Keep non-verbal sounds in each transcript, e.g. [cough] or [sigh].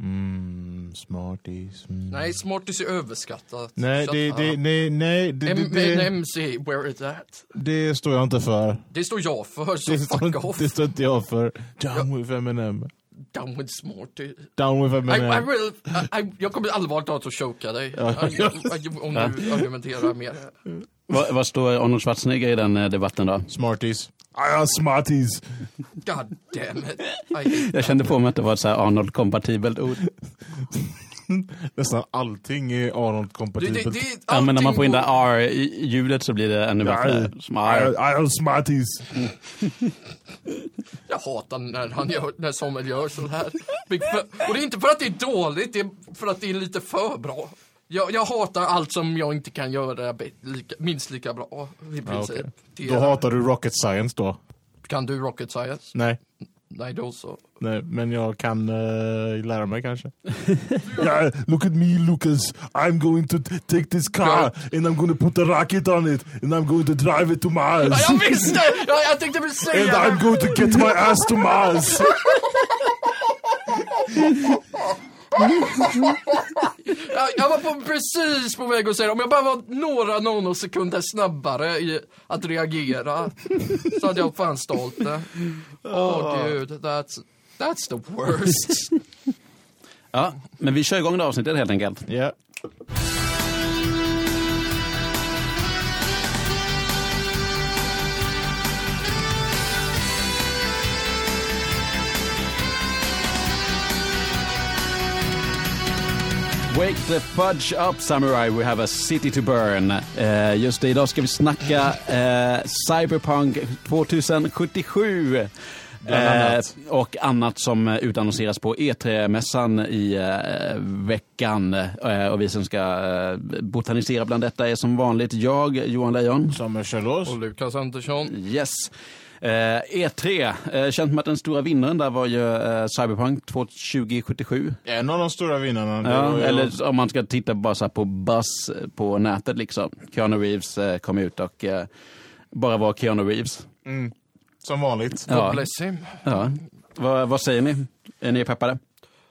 Mm, smarties. Mm. Nej, smarties är överskattat. Nej, Så det, att- det, nej, nej, det, M- det, en det, MC, where is that? det står jag inte för. Det står jag för, så Det fuck står, off. det står inte jag för. Down with Eminem. Down with smarties. Down with I, I Eminem. will, I, I, jag kommer allvarligt talat att choka dig. eh, Ja. I, I, om du argumenterar mer. Vad, vad står Arnold Schwarzenegger i den eh, debatten då? Smarties. I am smarties. God damn it. I hate Jag kände på mig att det var ett så här Arnold-kompatibelt ord. Nästan allting är det, Arnold-kompatibelt. det, det, är Ja, men när man får in det allting- där R-ljudet så blir det ännu bättre. Som I, R. I am smarties. Jag hatar när, han gör, när Samuel gör så här. Och det är inte för att det är dåligt, det är för att det är lite för bra. Jag, jag hatar allt som jag inte kan göra be- lika, minst lika bra i princip. okej. Det, Då hatar du rocket science då? Kan du rocket science? Nej. Nej, då så. Nej, men jag kan eh, lära mig [laughs] kanske. yeah, look at me Lucas, I'm going to t- take this car and I'm going to put a rocket on it and I'm going to drive it to Mars. Ja, jag visste! Ja, jag tänkte väl And säga I'm det! going to get my ass to [laughs] Mars! Jag, jag var på, precis på väg att säga det. Om jag bara var några nanosekunder snabbare i att reagera så hade jag fan stålt det. Åh gud, that's, that's the worst. Ja, men vi kör igång det avsnittet helt enkelt. yeah. Wake the fudge up samurai, we have a city to burn. Eh, just det, idag ska vi snacka eh, Cyberpunk 2077. Bland annat. Eh, och annat som eh, utannonseras på E3-mässan i eh, veckan. Eh, och vi som ska eh, botanisera bland detta är som vanligt jag, Johan Lejon. Samuel Kjellås. [laughs] Och Lukas Andersson. Yes. Eh, E3, eh, känt som att den stora vinnaren där var ju eh, Cyberpunk 2077. En av de stora vinnarna. det var Ja, ju- eller om man ska titta bara så här på buzz eh, på nätet liksom. Keanu Reeves eh, kom ut och eh, bara var Keanu Reeves. Som vanligt. God Ja. bless him. Ja. Vad- vad säger ni? Är ni peppade?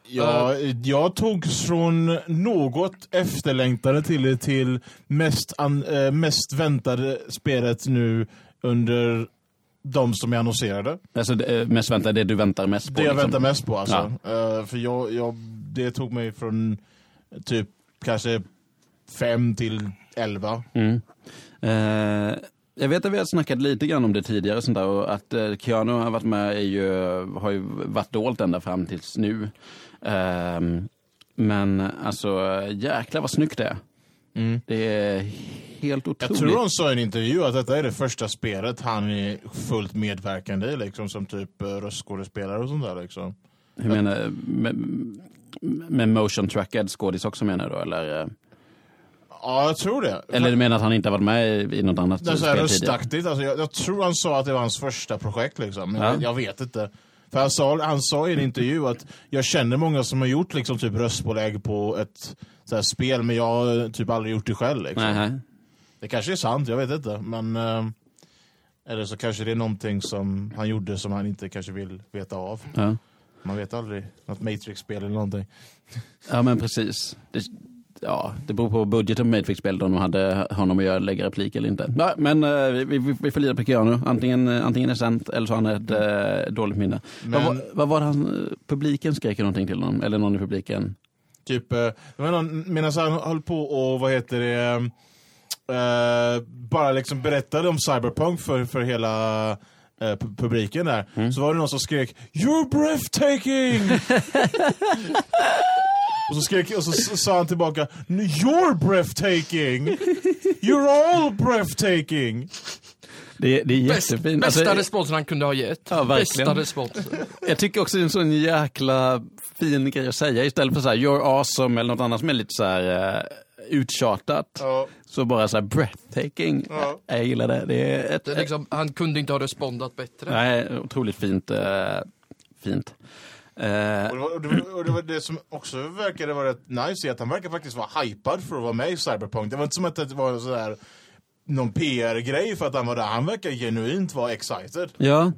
Ja, jag tog från något efterlängtade till till mest, an, eh, mest väntade spelet nu under de som är annonserade. Alltså det, eh, mest väntar, det du väntar mest på. Det jag liksom. väntar mest på alltså. Eh, för jag, jag, det tog mig från typ kanske fem till elva. Mm. Eh, jag vet att vi har snackat lite grann om det tidigare och sånt där och att eh, Keanu har varit med är ju, har ju varit dolt ända fram tills nu. Ehm, men alltså jäklar vad snyggt det är. Det är helt otroligt. Mm. Jag tror hon sa i en intervju att detta är det första spelet han är fullt medverkande i liksom som typ eh, röstskådespelare och sånt där liksom. Hur menar med, med motion trackad skådis också menar du då, eller? eh, Ja, jag tror det. Eller du menar att han inte har varit med i, i något annat Det är så här spel tidigare? röstaktigt. Alltså, jag, jag tror han sa att det var hans första projekt. Liksom. Men Ja. jag, jag vet inte. För han sa, han sa i en intervju att jag känner många som har gjort liksom, typ, röstpålägg på ett så här, spel, men jag har eh, typ aldrig gjort det själv. Liksom. Nähä. Det kanske är sant, jag vet inte. Men, eh, eller så kanske det är någonting som han gjorde som han inte kanske vill veta av. Ja. Man vet aldrig. Något Matrix-spel eller någonting. ja, men precis. Det, ja, det beror på budgeten på Matrix-spelet om de hade honom att göra, lägga replik eller inte. Nej, men eh, vi, vi, vi får lida på Keanu. Antingen, eh, antingen är det sant eller så har han ett eh, dåligt minne. Men- Vad, var- vad var det han, eh, publiken skrek någonting till honom? Eller någon i publiken? Typ, eh, det var någon, medan han höll på och, vad heter det, eh, bara liksom berättade om Cyberpunk för, för hela eh, pu- publiken där, så var det någon som skrek “You're breathtaking!” och, så skrek, och så s- sa han tillbaka “You're breathtaking! You're all breathtaking!” Det, det är Bäst, jättefint. bästa Alltså, responsen han kunde ha gett. Ja, verkligen. bästa responsen. Jag tycker också det är en sån jäkla fin grej att säga istället för så här you're awesome eller något annat som är lite så här eh, uttjatat. Så bara så här breathtaking. Ja. Jag gillar det. Det är ett, Det är liksom, han kunde inte ha respondat bättre. nej, otroligt fint. eh, fint. Och Eh, det, var, och, det var, och det var det som också verkade vara rätt nice är att han verkar faktiskt vara hypad för att vara med i Cyberpunk. Det var inte som att det var sådär någon PR-grej för att han var där. Han verkar genuint vara excited. ja.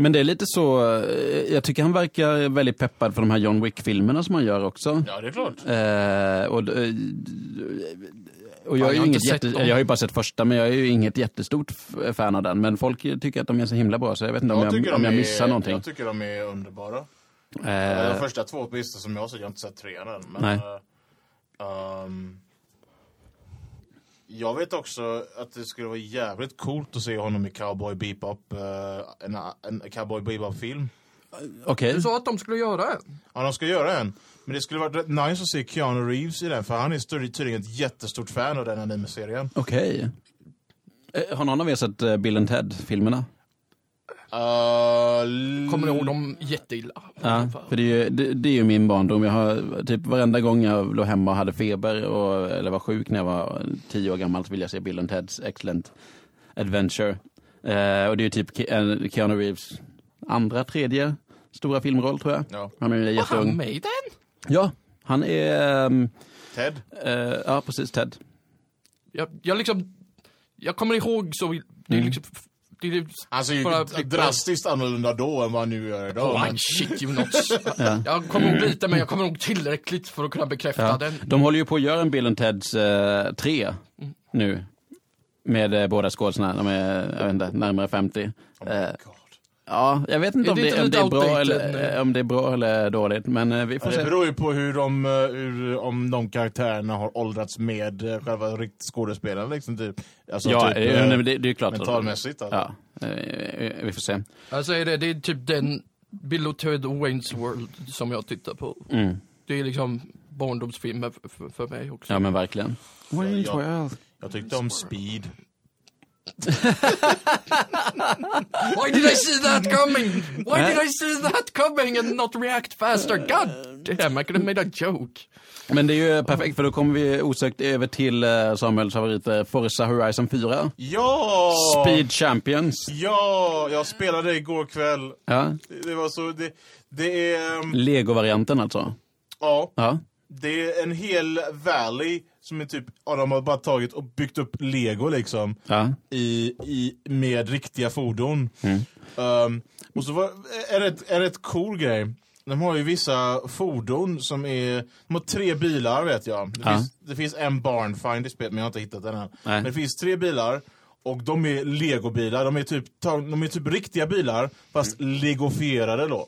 Men det är lite så, eh, jag tycker han verkar väldigt peppad för de här John Wick-filmerna som han gör också. Ja, det är klart. Eh, och, d- eh, och Fan, jag jag, är ju har inget inte sett jätte, dem. jag har ju bara sett första, men jag är ju inget jättestort f- fan av den. Men folk tycker att de är så himla bra, så jag vet inte om jag, om jag missar är, någonting. Jag tycker de är underbara. Eh, De första två pistorna som jag har sett, jag har inte sett trean än. Men, Nej. eh, ehm, jag vet också att det skulle vara jävligt coolt att se honom i Cowboy Bebop, eh, en, en Cowboy Bebop-film. Okej. Du sa att de skulle göra en. Ja, de ska göra en. Men det skulle varit rätt nice att se Keanu Reeves i den, för han är större- tydligen ett jättestort fan av den anime-serien. Okej. Eh, Har någon av er sett eh, Bill and Ted-filmerna? Uh, Kommer ihåg dem jätteilla. Ja, för det är, ju, det, det är ju min barndom. Jag har, typ varenda gång jag låg hemma och hade feber och, eller var sjuk när jag var tio år gammal så ville jag se Bill and Ted's Excellent Adventure. Eh, och det är ju typ Ke- eh, Keanu Reeves andra, tredje stora filmroll tror jag. Ja. Han är ju Var han jätteung. med i den? Ja, han är... ehm, Ted? eh, ja, precis, Ted. Jag, jag liksom, jag kommer ihåg så, det Mm. är liksom, det är Han ser ju Bara- drastiskt annorlunda då än vad han nu gör idag. Oh, men- shit [laughs] you nuts. Jag kommer ihåg lite men jag kommer ihåg tillräckligt för att kunna bekräfta Ja. den. De håller ju på att göra en Bill and Teds 3 Mm. nu. Med eh, båda skådisarna, de är jag vet inte, närmare 50. Oh my Eh, God. ja, jag vet inte Är om det det, inte om, det lite är bra outdated eller, nu? eh, om det är bra eller dåligt, men eh, vi får Ja, Det se. beror ju på hur de, eh, hur, om de karaktärerna har åldrats med eh, själva rikt- skådespelaren. Liksom, typ. Alltså, Ja, typ, eh, eh, nej, men det, det är ju klart. att- mentalmässigt, alltså. Ja, eh, eh, vi får se. Jag säger det, det är typ den Bill och Ted och Wayne's World som jag tittar på. Mm. Det är liksom barndomsfilmer för, för, för mig också. Ja, men verkligen. Wayne's World. Jag tyckte om Speed. Why did I see that coming? Why did I see that coming and not react faster? God damn, I could have made a joke. Men det är ju perfekt, för då kommer vi osökt över till eh, Samuels favoriter, Forza Horizon 4. Ja! Speed Champions. Ja, jag spelade igår kväll. Ja. Det det var så, det, det är, ehm, Lego-varianten alltså. ja, Ja. det är en hel valley som är typ, ja, de har bara tagit och byggt upp lego liksom. ja. i, i, med riktiga fordon. Mm. Ehm, och så var, är, det ett, är det ett cool grej. De har ju vissa fordon som är, de har tre bilar vet jag. Det, Ja. finns, det finns en barnfind i spelet men jag har inte hittat den än. Nej. Men det finns tre bilar och de är legobilar. De är typ, ta- de är typ riktiga bilar fast Mm. legofierade då.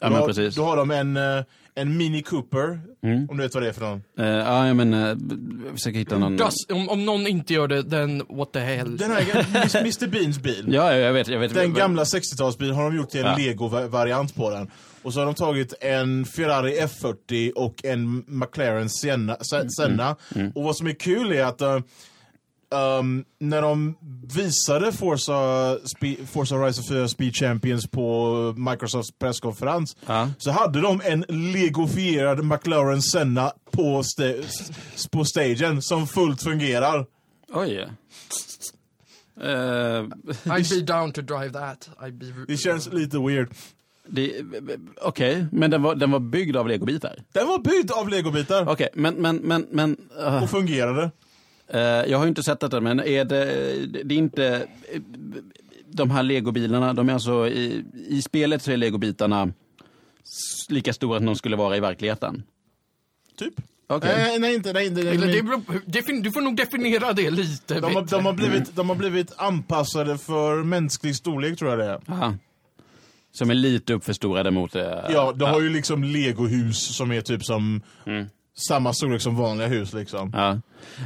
Ja, då, men har- precis. Mm. då har de en, eh, en Mini Cooper, om du vet vad det är för någon. Eh, ja, jag men eh, jag försöker hitta någon... Das, om, om någon inte gör det, then what the hell. Den här [laughs] Mr Beans bil. Ja, ja, jag vet. Jag vet Den gamla 60-talsbilen har de gjort till en Ja. Lego-variant på den. Och så har de tagit en Ferrari F40 och en McLaren Senna. Mm. Se- Senna. Och vad som är kul är att eh, ehm, när de visade Forza, Spe- Forza Horizon 4 Speed Champions på Microsofts presskonferens Ja. så hade de en legofierad McLaren Senna på, sta- s- på stagen som fullt fungerar. Oj. Eh, I'd be down to drive that. I'd be... Det känns lite weird. det- Okej, men den var, den var byggd av legobitar? Den var byggd av legobitar Okej, men, men, men, men ah, och fungerade. eh, jag har ju inte sett detta, men är det, det är inte eh, de här legobilarna, de är alltså i, i spelet så är legobitarna s- lika stora som de skulle vara i verkligheten? Typ. Okej. Nej, nej, inte, nej, nej, nej, Eller det nej. beror, på- defin, du får nog definiera det lite De, har, bättre. de, har blivit, de har blivit anpassade för mänsklig storlek tror jag det är. Aha. Ah, Som är lite uppförstorade mot... eh, Ja, de har ju liksom legohus som är typ som Mm. samma storlek som vanliga hus liksom. Ja.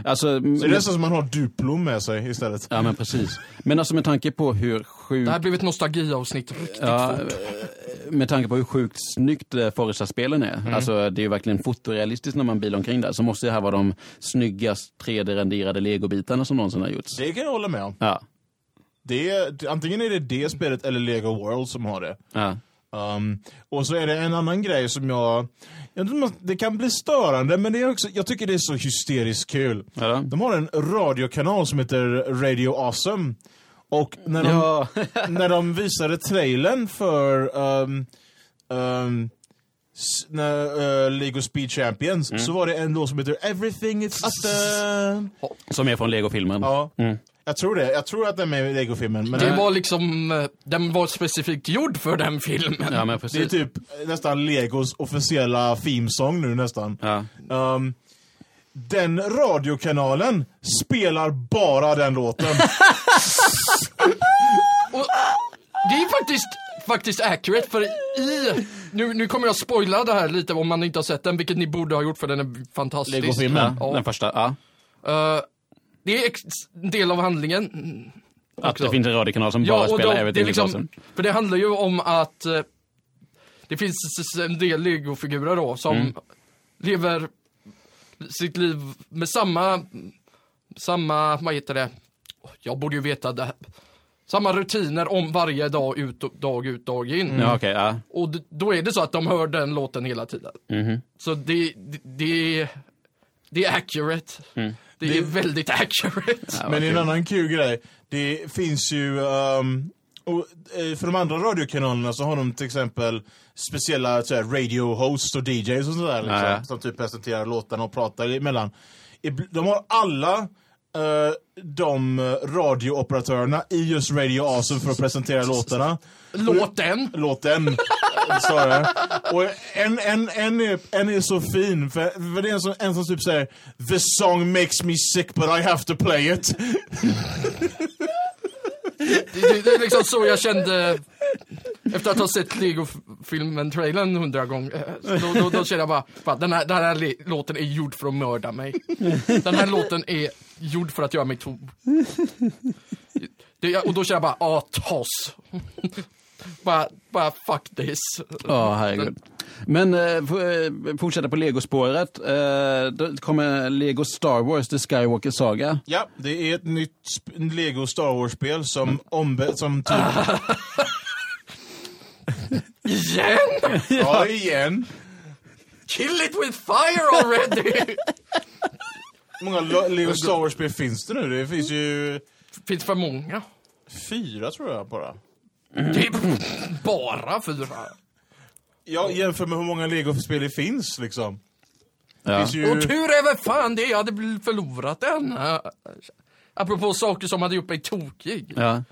Alltså, Så det är nästan som man har Duplo med sig istället. Ja men precis. Men alltså med tanke på hur sjukt, Det här blev ett nostalgiavsnitt riktigt ja, eh, fort. med tanke på hur sjukt snyggt eh, Forza-spelen är. Mm. Alltså det är ju verkligen fotorealistiskt när man bilar omkring där. Så måste det här vara de snyggast 3D-renderade legobitarna som någonsin har gjorts. Det kan jag hålla med om. Ja. Det är, antingen är det det spelet eller Lego World som har det. ja. Ehm, och så är det en annan grej som jag... jag tror man- det kan bli störande, men det är också, jag tycker det är så hysteriskt kul. Ja då. De har en radiokanal som heter Radio Awesome. Och när de, Ja. [laughs] när de visade trailern för um, um, s- när, eh, Lego Speed Champions Mm. Ah, så var det en låt som heter Everything is awesome. Som är från legofilmen. Ja. Jag tror det. Jag tror att den är med i Lego-filmen. Men mm. Det var liksom, eh, den var specifikt gjord för den filmen. Ja, men det är precis. typ nästan Legos officiella themesång nu nästan. Ja. Ehm, den radiokanalen spelar bara den låten. Och det är faktiskt, faktiskt accurate för i, nu, nu kommer jag spoila det här lite om man inte har sett den, vilket ni borde ha gjort för den är fantastisk. Lego-filmen? Ja. Den första, ja. Eh, det är ex- en del av handlingen. Mm, Att också. det finns en radiokanal som bara Ja, och spelar de- Evert det är Universum. liksom, för det handlar ju om att eh, det finns s- s- en del legofigurer då som Mm. lever sitt liv med samma, samma, vad heter det, jag borde ju veta det här. Samma rutiner om varje dag ut, och- dag ut, dag in. Mm. Mm. Ja, okej, ja. Och d- då är det så att de hör den låten hela tiden. Mhm. Så det, det, det, det är accurate. Det, är väldigt accurate. Mm. Ja, vad Men det är en kul. annan kul grej. Det finns ju... ehm, och, eh, för de andra radiokanalerna så har de till exempel speciella så här, radio hosts och DJs och sådär. Liksom, Ja, ja. Som typ presenterar låtarna och pratar emellan. Ib- De har alla eh, de radiooperatörerna i just Radio Awesome för att presentera låtarna. Låten. Låten. Sa jag. Och en, en, en, är, en är så fin, för, för det är en som, en som typ säger The song makes me sick but I have to play it. Det, det är liksom så jag kände efter att ha sett Lego-filmen, trailern hundra gånger. Så Då, då, då kände jag bara, fan, den här, den här li- låten är gjord för att mörda mig. Den här låten är gjord för att göra mig tom. Det, och då kände jag bara, ah, toss. Bara, bara fuck this. Ja, herregud. Men eh, f- eh, fortsätta på legospåret. Eh, då kommer Lego Star Wars, The Skywalker Saga. Ja, det är ett nytt sp- Lego Star Wars-spel som ombe... Som typ... Igen? ja, igen. Kill it with fire already! Hur många lo- Lego Star Wars-spel finns det nu? Det finns ju Finns för många. fyra, tror jag, bara. Det är bara fyra. Ja, jämför med hur många Lego-spel det finns, liksom. Det Ja. finns ju... Och tur är väl fan det, jag hade bl- förlorat den. Äh, Apropå saker som hade gjort mig tokig. Ja.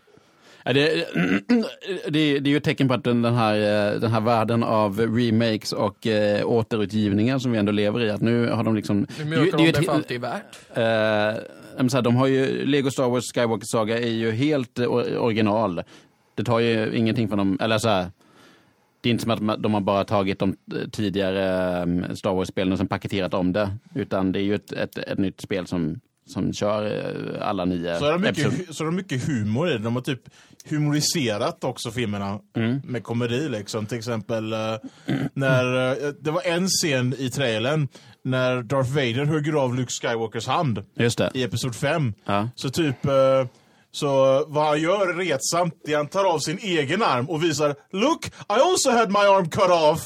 Ja, Det, [clears throat] det, det är ju ett tecken på att den den här, eh, den här världen av remakes och eh, återutgivningar som vi ändå lever i, att nu har de liksom... Nu det är ju- mörkar det är ju de ett det för he- allt det är värt. Eh, men så här, de har ju, Lego Star Wars Skywalker Saga är ju helt eh, or- original. Det tar ju ingenting från dem, eller så här, det är inte som att ma- de har bara tagit de eh, tidigare eh, Star Wars-spelen och sen paketerat om det. Utan det är ju ett, ett, ett nytt spel som, som kör eh, alla nio Så är det mycket, episoder. hu- så är det mycket humor i det. De har typ humoriserat också filmerna med komedi liksom. Till exempel eh, när, eh, det var en scen i trailern när Darth Vader hugger av Luke Skywalkers hand Just det. i Episod 5. Ja. Så typ, eh, så vad han gör är retsamt det är han tar av sin egen arm och visar Look, I also had my arm cut off!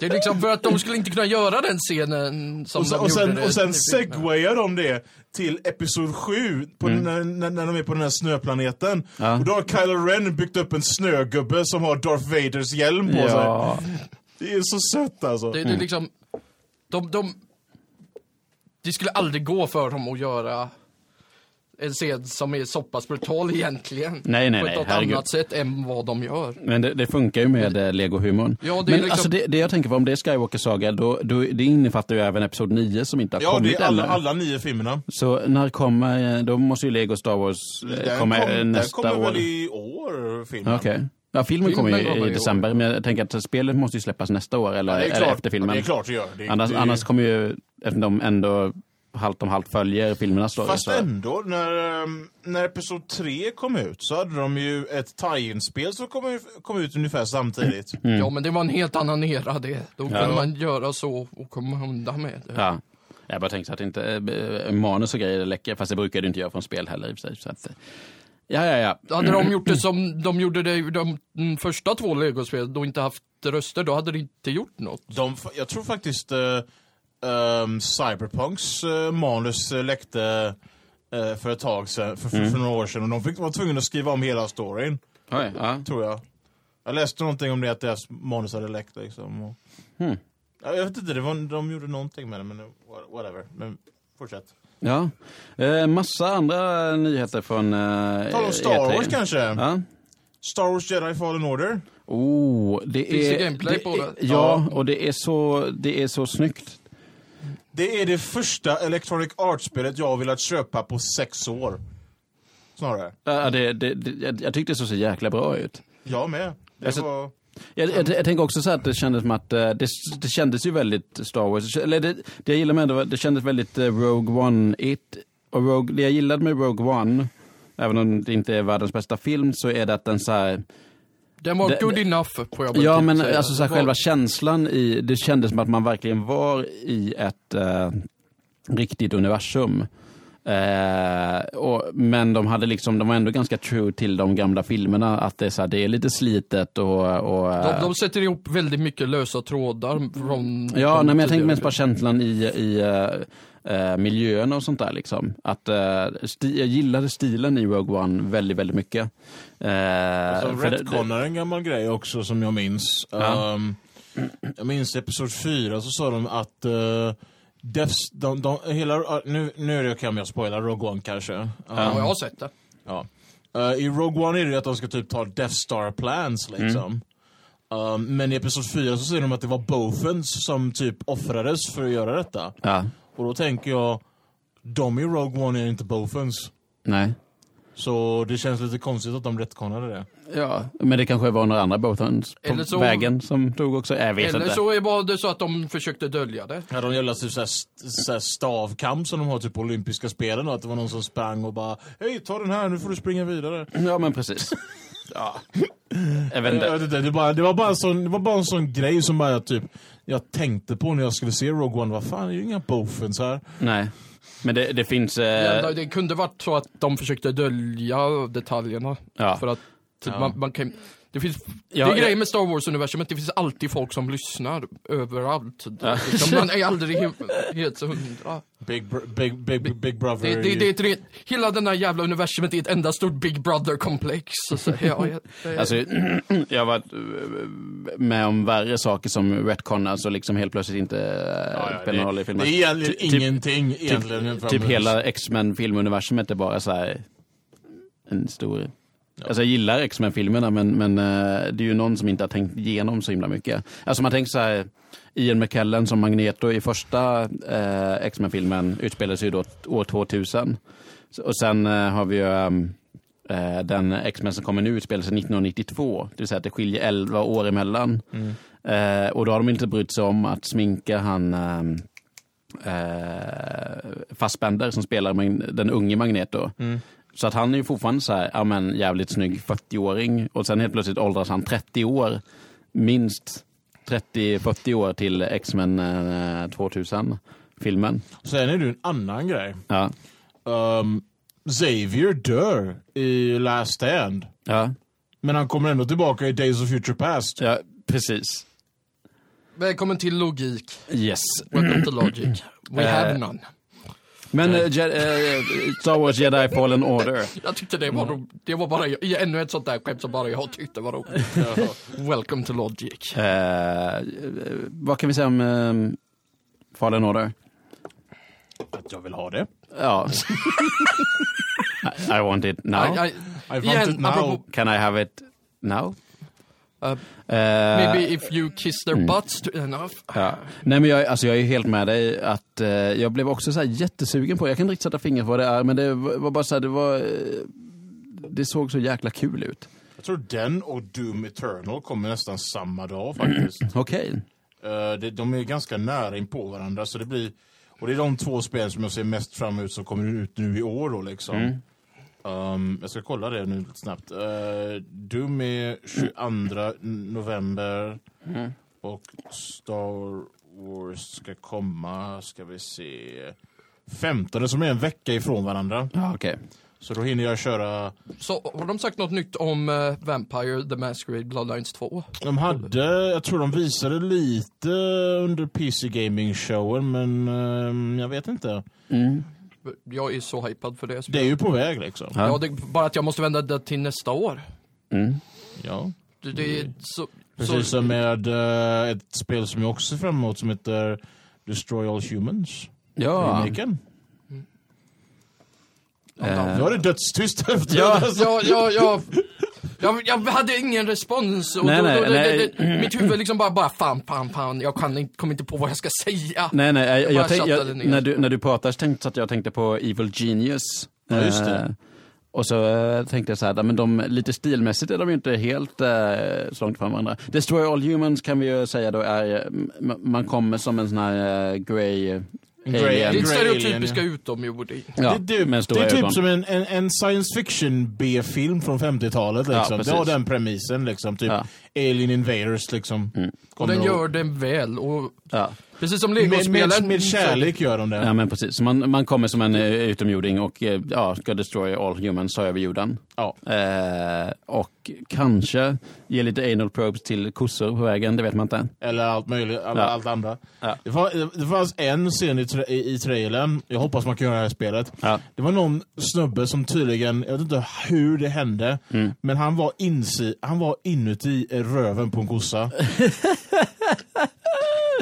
Det är liksom för att de skulle inte kunna göra den scenen som Och sen, de och sen, gjorde. det och sen i filmen. segwayar de det till episod 7, på när, när, när de är på den här snöplaneten. Mm. Ja. Och då har Kylo Ren byggt upp en snögubbe som har Darth Vaders hjälm på sig. Ja. Det är så sött alltså. Det, det är Mm. liksom, de, de, det skulle aldrig gå för dem att göra en scen som är så pass brutal egentligen. Nej, nej, på ett nej, något herregud. annat sätt än vad de gör. Men det, det funkar ju med eh, Lego-humorn. Ja, det är Men liksom- alltså det, det jag tänker på, om det är Skywalker Saga, då, då, det innefattar ju även Episod 9 som inte har Ja, det kommit är alla, ännu. alla nio filmerna. Så när kommer, eh, då måste ju Lego Star Wars eh, Den komma eh, kom- nästa den kommer år. väl i år, filmen? Okej. Ja, filmen Filmen kommer ju kommer i i år. december, men jag tänker att spelet måste ju släppas nästa år eller, Det är eller klart, efter filmen. Det är klart det gör. Det, annars, det, annars kommer ju, eftersom de ändå halvt om halvt följer filmernas story. Fast så- ändå, när, ehm, när Episod 3 kom ut så hade de ju ett tie-in-spel som kom, kom ut ungefär samtidigt. Mm. Ja, men det var en helt annan era det. Då kunde Ja. man göra så och komma undan med det. Ja. Jag bara tänkte så att inte eh, manus och grejer läcker, fast det brukar du inte göra från spel heller i och för sig. Så att, eh, ja, ja, ja. Hade [clears throat] de gjort det som de gjorde det i de mm, första två legospelen då inte haft röster, då hade det inte gjort något. De, jag tror faktiskt eh, ehm, Cyberpunks eh, manus eh, läckte eh, för ett tag sedan, för, för, Mm. för några år sedan. Och de fick, var tvungna att skriva om hela storyn, Oj, ja. tror jag. Jag läste någonting om det, att deras manus hade läckt liksom. Och, Hmm. eh, Ja, jag vet inte, det var, de gjorde någonting med det, men det- whatever. Men fortsätt. Ja. Eh, massa andra nyheter från eh, Tala om Star E3. Wars kanske? Ja. Star Wars Jedi Fallen Order? Oh, det Finns är... det gameplay på Är, det? ja, och det är, så, det är så snyggt. Det är det första Electronic Arts-spelet jag har velat köpa på sex år. Snarare. Ja, det, det, det, jag- jag tyckte det såg så jäkla bra ut. Jag med. Det Alltså- var... Jag, jag, jag tänker också så här att det kändes som att eh, det, det kändes ju väldigt Star Wars. Eller det, det jag gillade med det var det kändes väldigt eh, Rogue One. It, och Rogue, det jag gillade med Rogue One, även om det inte är världens bästa film, så är det att den så här, Den var Det- good enough får jag väl Ja, typ men säga. alltså så här, Det var- själva känslan i, det kändes som att man verkligen var i ett eh, riktigt universum. Eh, och, men de hade liksom, de var ändå ganska true till de gamla filmerna, att det är, så här, det är lite slitet och... och eh, De, de sätter ihop väldigt mycket lösa trådar från... Ja, från nej, men jag tänker tidigare mest på känslan i, i eh, eh, miljön och sånt där. Liksom. Att, eh, sti- jag gillade stilen i Rogue One väldigt, väldigt mycket. Eh, Som för det- det- retconar en gammal grej också som jag minns. Ja. Ehm, jag minns i Episod 4 så sa de att uh, Deaths, de, de, hela, ah, nu, nu är det kan jag spoila Rogue One kanske. Ehm, filmer. Ja, jag har sett det. ja. Eh, I Rogue One är det ju att de ska typ ta Death Star plans Mm. liksom. Ehm, men i Episod 4 så säger de att det var Bothans som typ offrades för att göra detta. Ja, Och då tänker jag, de i Rogue One är inte Bothans. nej. Så det känns lite konstigt att de retconade det. Ja, men det kanske var några andra båtar på Eller så- vägen som dog också. Jag vet Eller inte. så är bara det så att de försökte dölja det. Ja, de jävla typ såhär, st- såhär stavkamp som de har typ på olympiska spelen och att det var någon som sprang och bara Hej, ta den här, nu får du springa vidare. Ja, men precis. Ja. Jag Jag vet inte. vet inte, det, bara, det, var bara en sån, det var bara en sån grej som bara typ jag tänkte på när jag skulle se Rogue One, vad fan, det är ju inga bofens här. Nej. Men det, det finns... Det Eh, enda- Det kunde varit så att de försökte dölja detaljerna. Ja. För att typ, Ja. man, man kan... Det finns, Ja, det är ja. grejen med Star Wars-universumet, det finns alltid folk som lyssnar överallt. Ja. Liksom, man är aldrig he- helt hundra. Big, br- big, big, big, big brother. Det, det, det är ett, rent- hela den här jävla universumet är ett enda stort Big Brother-komplex. Så, så, ja, ja, det- Alltså, [clears throat] jag har varit eh, med om värre saker som retconas och liksom helt plötsligt inte eh, Ja, ja, spelar någon roll i det, det filmen. är egentligen Ty- typ- ingenting egentligen. Typ, jämfört typ med- hela X-Men filmuniversumet är bara så här en stor... Alltså jag gillar X-Men-filmerna men, men eh, det är ju någon som inte har tänkt igenom så himla mycket. Alltså man tänker så här, Ian McKellen som Magneto i första eh, X-Men-filmen utspelar sig ju då år 2000. Så- Och sen eh, har vi ju ehm, eh, den X-Men som kommer nu utspelar sig 1992. Det vill säga att det skiljer 11 år emellan. Eh, och då har de inte brytt sig om att sminka han ehm, eh, Fassbender som spelar Mag- den unge Magneto. Så att han är ju fortfarande så här, ja men jävligt snygg 40-åring och sen helt plötsligt åldras han 30 år, minst 30-40 år till X-Men eh, 2000-filmen. Sen är det ju en annan grej. Ja. Ehm, Xavier dör i Last Stand. Ja. Men han kommer ändå tillbaka i Days of Future Past. ja, precis. Välkommen till logik. Yes. Welcome to logic. We Eh, have none. Men eh, Je- eh, Star Wars Jedi Fallen Order. Jag tyckte det var roligt. Det var bara jag- ännu ett sånt där skämt som bara jag tyckte var roligt. Welcome to logic. Eh, vad kan vi säga om eh, Fallen Order? Att jag vill ha det. Ja. I, I want it now. I, I, I want igen, it now. apropå, Can I have it now? uh, Eh, maybe if you kiss their butts to enough. Ja. Nej men jag, alltså jag är helt med dig att eh, jag blev också så här jättesugen på, jag kan inte riktigt sätta fingret på vad det är, men det var var bara så här, det var, eh, det såg så jäkla kul ut. Jag tror den och Doom Eternal kommer nästan samma dag faktiskt. Okej. Eh, det- de är ganska nära in på varandra så det blir... Och det är de två spel som jag ser mest fram emot som kommer ut nu i år då liksom. Ehm, jag ska kolla det nu lite snabbt. Eh, Doom är 22 november och Star Wars ska komma, ska vi se, 15 som är en vecka ifrån varandra. Ja, okej. Så då hinner jag köra Så har de sagt något nytt om eh, Vampire The Masquerade Bloodlines 2? De hade, jag tror de visade lite under PC Gaming showen men ehm, jag vet inte. Jag är så hypad för det. Det är ju på väg liksom. Ja. Ja, det, bara att jag måste vända det till nästa år. Mm. Ja. Det, det är så... Precis så, som med eh, ett spel som jag också ser fram emot som heter Destroy All Humans. Ja, Remaken. Eh, Nu är det dödstyst efter Ja. det. Ja, ja, ja. Jag, jag hade ingen respons och Nej, då, då, nej, det, det, nej. det, mitt huvud liksom bara, bara fan, fan, fan, jag kan, inte- kom inte på vad jag ska säga. Nej, nej, jag, jag, bara tänk, tjatade jag, ner. när, du, när du pratar så tänkte så att jag tänkte på Evil Genius. Ja, just det. Eh, och så eh, tänkte jag så här, men de, lite stilmässigt är de ju inte helt eh, så långt från varandra. Destroy All Humans kan vi ju säga då är, eh, m- man kommer som en sån här eh, grey eh, grey Det är alien. alien. Grey stereotypiska utomjording. Ja, det, är med typ- stora det är typ ögon. som en, en, en science fiction B-film från 50-talet. Ja, Liksom. det har precis. den premissen, liksom. typ Ja. Mm. Alien Invaders. Liksom. Och Kommer den ihåg. gör den väl och Ja. precis som med, med, legospelen. med kärlek gör de det. ja, men precis. Så man, man kommer som en eh, utomjording och eh, ja, ska destroy all humans, ta över jorden. Ja. Eh, och kanske ge lite anal probes till kossor på vägen, det vet man inte. Eller allt möjligt, all, Ja. allt andra. Ja. Det, var, det fanns en scen i, tra- i, i trailern, jag hoppas man kan göra det här spelet. Ja. Det var någon snubbe som tydligen, jag vet inte hur det hände, men han var, insi, han var inuti röven på en kossa.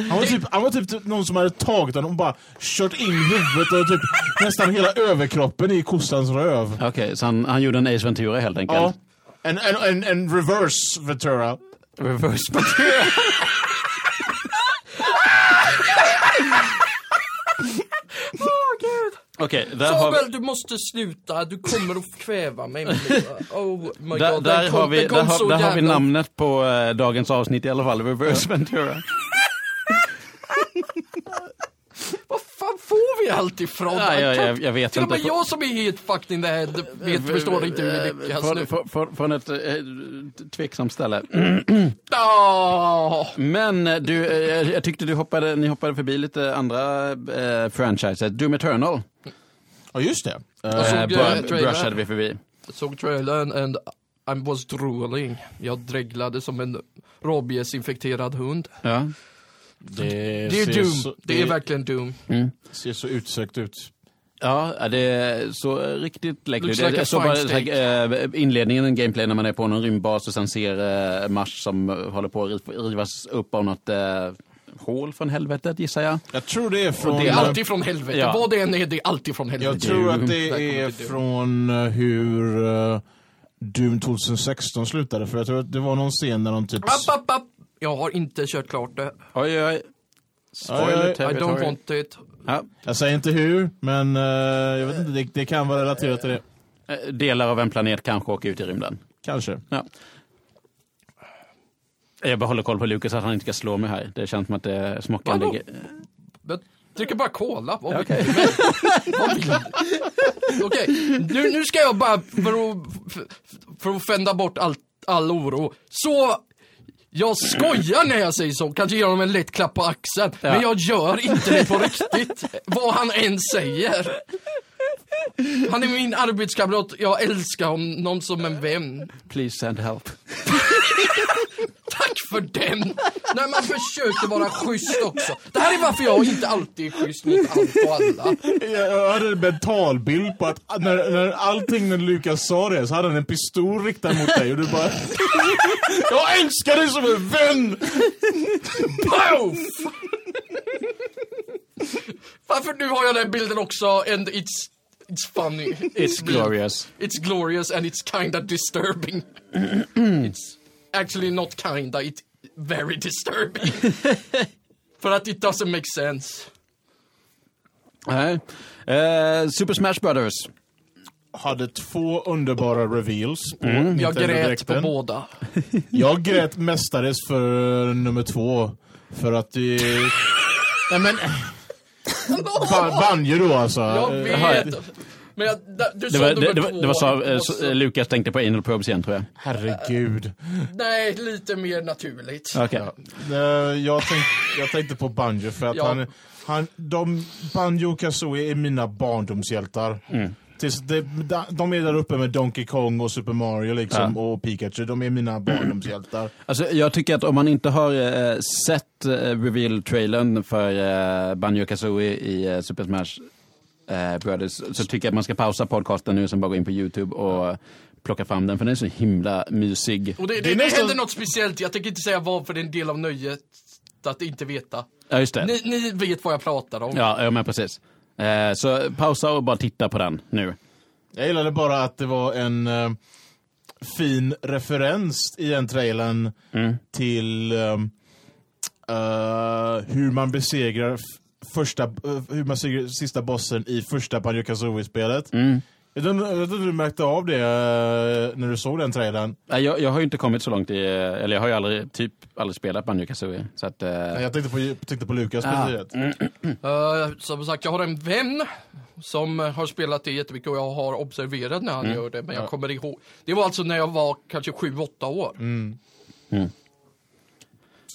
Han var, typ, han var typ någon som hade tagit honom och bara kört in huvudet och typ nästan hela överkroppen i kossans röv. Okej, så han, han gjorde en Ace Ventura helt enkelt? Ja. En, en, en, en reverse Ventura. Reverse Åh, gud. [laughs] Okej, där har Samuel, vi... du måste sluta. Du kommer att kväva mig. Oh my Där, god. där, den kom- har, vi, den kom där, så har, där har vi jävla- namnet på eh, dagens avsnitt i alla fall, Reverse Ventura. [laughs] Vad fan får vi allt ifrån? Nej, jag, kan- jag, jag vet Till och inte. Eh, med jag som är helt fucking the head vet, förstår inte hur vi lyckas från, nu. från- Från, från ett eh, tveksamt ställe. [clears throat] Åh. Men eh, du, eh, jag- jag tyckte du hoppade, ni hoppade förbi lite andra eh, franchises. Doom Eternal Ja just det. Jag Eh, såg, eh, eh, trailern. br- brushade vi förbi. såg trailern and I was drooling. Jag dreglade som en rabiesinfekterad hund. Ja. det, Det är ser Doom. Så, det, är verkligen Doom. Mm. ser så utsökt ut. Ja, det är så riktigt läckert. Looks Jag like a såg bara fine så här, eh, inledningen, en gameplay när man är på någon rymdbas och sen ser eh, Mars som eh, håller på att riv- rivas upp av något eh, hål från helvetet gissar jag. Jag tror det är från... eh, Det är alltid från helvete. Ja. Vad det än är, det är alltid från Jag helvete. tror Doom. att Där det kommer är det Doom. från eh, hur eh, Doom 2016 slutade. För jag tror att det var någon scen där de typ... App, app, app. Jag har inte kört klart det. Oj, oj. Oj, Spoiler oj. I don't territory. want it. Ja, Jag säger inte hur, men eh, jag vet inte, det, det kan vara relaterat till det. eh, delar av en planet kanske åker ut i rymden. [laughs] Kanske. Ja. Jag bara håller koll på Lukas att han inte ska slå mig här. Det känns som att det smockar Vadå? ligger... Jag dricker bara cola. Vad vill Okej. Vad vill du? Okej, nu, nu ska jag bara för att, för att fända bort all, all oro. Så jag skojar när jag säger så, kanske ger honom en lätt klapp på axeln. Men jag gör inte det på riktigt, vad han än säger. Han är min arbetskamrat, jag älskar honom som en vän. Please send help. Tack för den! När man försöker vara schysst också. Det här är varför jag inte alltid är schysst mot allt och alla. Jag, jag hade en mentalbild på att när, när allting när Lukas sa det så hade han en pistol riktad mot dig och du bara... [laughs] jag älskar dig som en [laughs] vän! Poof! Varför nu har jag den bilden också and it's, it's funny. It's glorious. It's glorious and it's kinda disturbing. it's actually not kinda, it's very disturbing. [laughs] För att it doesn't make sense. Nej. Eh, Super Smash Brothers. Hade två underbara reveals på Jag grät på Nintendo-direkten. [laughs] båda. Jag grät mestadels för nummer två. För att det... Nej men... [laughs] Ba- Banjo då alltså. Jag Jaha, vet. Men jag, du Det sa var, nummer det, det, var- två. det var så, eh, Och så så- eh, Lukas tänkte på anal probes igen tror jag. Herregud. Nej, lite mer naturligt. Okej. Eh, Jag, tänk, jag tänkte på Banjo för att Ja. han... han de, Banjo och Kazooie är mina barndomshjältar. Tills de, de är där uppe med Donkey Kong och Super Mario liksom, och Pikachu. De är mina barndomshjältar. Alltså, jag tycker att om man inte har eh, sett eh, reveal-trailern för eh, Banjo Kazooie i eh, Super Smash eh, Brothers så tycker jag att man ska pausa podcasten nu och sen bara gå in på YouTube och plocka fram den för den är så himla mysig. Och det, det, Det det, är nästan- händer något speciellt, jag tänker inte säga vad för det är en del av nöjet att inte veta. Ja, just det. Ni, ni vet vad jag pratar om. Ja, ja men precis. Eh, så pausa och bara titta på den nu. Jag gillade bara att det var en eh, fin referens i den trailern Mm. till ehm, eh, hur man besegrar f- första, eh, hur man segrar sista bossen i första Banjo Kazooie-spelet. Mm. Jag vet inte- jag vet inte om du märkte av det eh, när du såg den trailern. Nej, jag, jag har ju inte kommit så långt i, eller jag har ju aldrig, typ aldrig spelat Banjo Kazooie. Så att, eh, Jag tänkte på, tänkte på Lukas Ah. speciellt. Eh, som sagt, jag har en vän som har spelat det jättemycket och jag har observerat när han gör det, men jag kommer ihåg. Det var alltså när jag var kanske 7-8 år.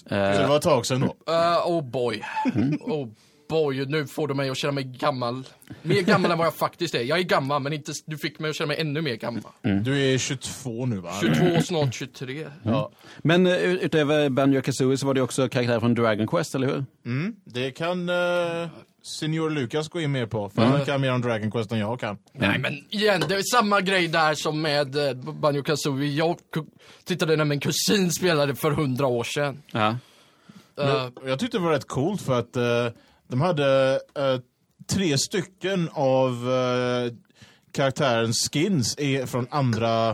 Så det eh, var ett tag sedan då. Eh, oh boy. Oh boy, nu får du mig att känna mig gammal. Mer gammal än vad jag faktiskt är. Jag är gammal, men inte, du fick mig att känna mig ännu mer gammal. Mm. Du är 22 nu va? 22, snart 23. Ja. men eh, ut- utöver Banjo Kazooie så var det också karaktärer från Dragon Quest, eller hur? Mm, det kan eh, Senior Lukas gå in mer på, Mm. för han kan mer om Dragon Quest än jag kan. Nej men igen, det är samma grej där som med eh, Banjo Kazooie. Jag ku- tittade när min kusin spelade för hundra år sedan. Ja. Eh, Jag tyckte det var rätt coolt för att eh, de hade eh, tre stycken av eh, karaktärens skins är från andra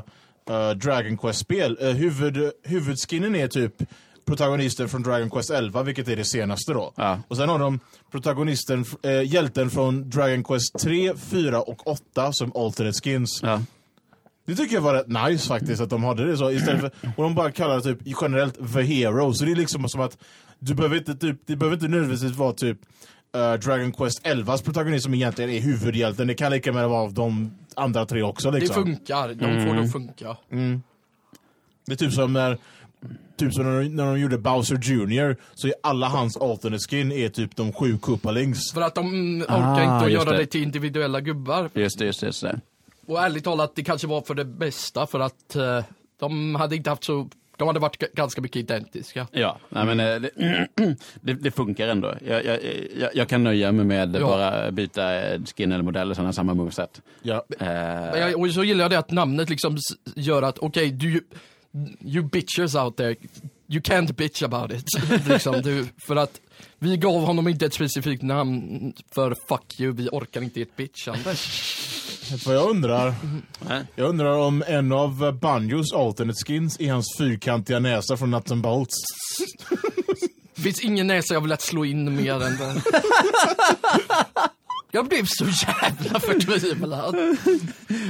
eh, Dragon Quest-spel. Eh, huvud, huvudskinnen är typ protagonisten från Dragon Quest 11, vilket är det senaste då. Ja. Och sen har de protagonisten, eh, hjälten från Dragon Quest 3, 4 och 8 som alternate skins. Ja. Det tycker jag var rätt nice faktiskt att de hade det så istället för, och de bara kallar det typ generellt the hero, så det är liksom som att du behöver inte, typ, det behöver inte nödvändigtvis vara typ eh, Dragon Quest 11s protagonist som egentligen är huvudhjälten, det kan lika gärna vara av de andra tre också det liksom. funkar, de Mm. får det att funka. Det är typ som när Typ som när de, när de gjorde Bowser Jr, så är alla hans alternate skin är typ de sju Koopalings. För att de orkar Ah, inte att just göra det. det. till individuella gubbar. Just det, just det. Just det. Och ärligt talat, det kanske var för det bästa för att eh, de hade inte haft så, de hade varit g- ganska mycket identiska. Ja, nej, men eh, det, [clears throat] det, det funkar ändå. Jag, jag, jag, jag kan nöja mig med Ja. bara byta eh, skin eller modell och sen ha samma moveset. Ja. Eh, Men jag, och så gillar jag det att namnet liksom s- gör att, okej, du, you bitches out there, you can't bitch about it. [laughs] liksom, du, för att vi gav honom inte ett specifikt namn för fuck you, vi orkar inte ert bitchande. Vad jag undrar, Nej. jag undrar om en av eh, Banjos alternate skins är hans fyrkantiga näsa från Nuts and Bolts. Det finns ingen näsa jag velat slå in mer än [laughs] den. Jag blev så jävla förtvivlad.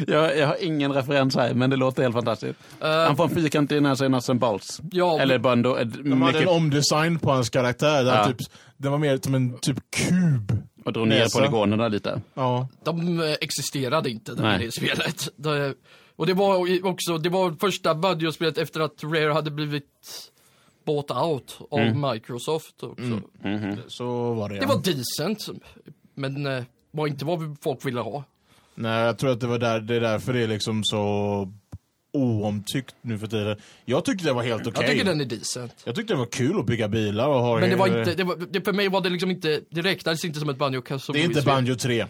jag, jag har ingen referens här, men det låter helt fantastiskt. Han får en fyrkantig näsa i Nuts Balls. Ja, Eller bara en, då- ett- De hade mycket- en omdesign på hans karaktär, där Ja. typ, den var mer som en typ kub. och drog ner näsa. polygonerna lite. Ja. De eh, existerade inte där Nej. i det spelet. Det, och det var ju också, det var första Budget-spelet efter att Rare hade blivit bought out av Microsoft också. Så var det, Det Mm. ja. var typ- decent, men eh, var inte vad folk ville ha. Nej, jag tror att det var där, det är därför det är liksom så oomtyckt nu för tiden. Jag tyckte det var helt okej. Jag tycker den är decent. Jag tyckte det var kul att bygga bilar och ha Men det var inte, det var, det, för mig var det liksom inte, det räknades inte som ett Banjo Kazooie. Det är inte Banjo 3.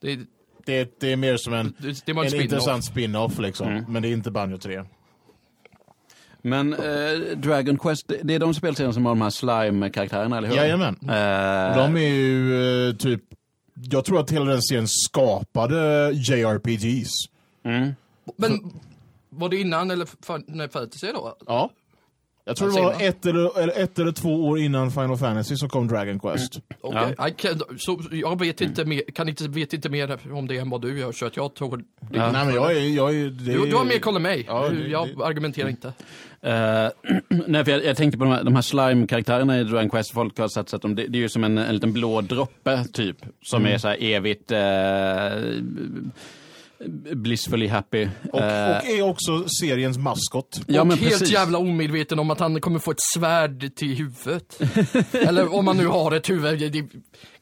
Det, Det är, det är mer som en, det, det var en, en spin-off. intressant spin-off liksom. Mm. Men det är inte Banjo 3. Men eh, Dragon Quest, det- det är de spelserierna som har de här slime-karaktärerna, eller hur? Jajamän. Eh, De är ju eh, typ... Jag tror att hela den serien skapade JRPGs. Men var det innan eller fan- när Fantasy då? Ja. Jag tror Ja, det var Sigma. ett eller, eller ett eller två år innan Final Fantasy som kom Dragon Quest. Okej, I can, så jag vet inte, mer, kan inte, vet inte mer om det än vad du gör, så att jag tror... Nej men jag är... Jag är det Du, är- du har mer koll än mig. Ja, Du- det- jag argumenterar inte. Eh, [clears throat] nej, för jag, jag tänkte på de här, de här slime-karaktärerna i Dragon Quest. Folk har satsat dem. Det, det är ju som en, en liten blå droppe, typ. Som Mm. är så här evigt eh, blissfully happy. Och, och Eh, är också seriens maskot. ja, och men helt precis. jävla omedveten om att han kommer få ett svärd till [laughs] huvudet. Eller om han nu har ett huvud, det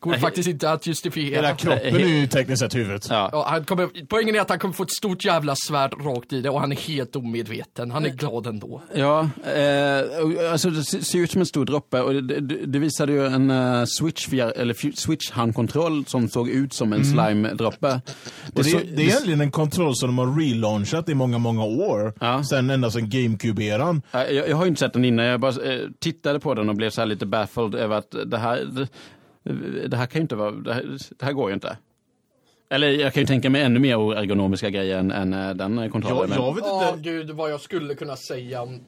går faktiskt inte att Hela justifiera. kroppen är ju tekniskt sett huvudet. Ja. Ja, han kommer, poängen är att han kommer få ett stort jävla svärd rakt i det och han är helt omedveten. Han är glad ändå. Ja, eh, och, alltså det ser ser ut som en stor droppe och det, det, det visade ju en eh, switch, fjär- eller fj- switch handkontroll som såg ut som en slime-droppe. Mm. Och det, så- det är egentligen en kontroll som de har relaunchat i många, många år. Ja. Sen ända sedan GameCube-eran. Ja, Jag, jag har ju inte sett den innan, jag bara eh, tittade på den och blev så här lite baffled över att det här, det, det här kan ju inte vara, det här, det här går ju inte. Eller jag kan ju tänka mig ännu mer oergonomiska grejer än, än eh, den Jag, kontrollen. men- jag vet Åh inte. gud, vad jag skulle kunna säga om...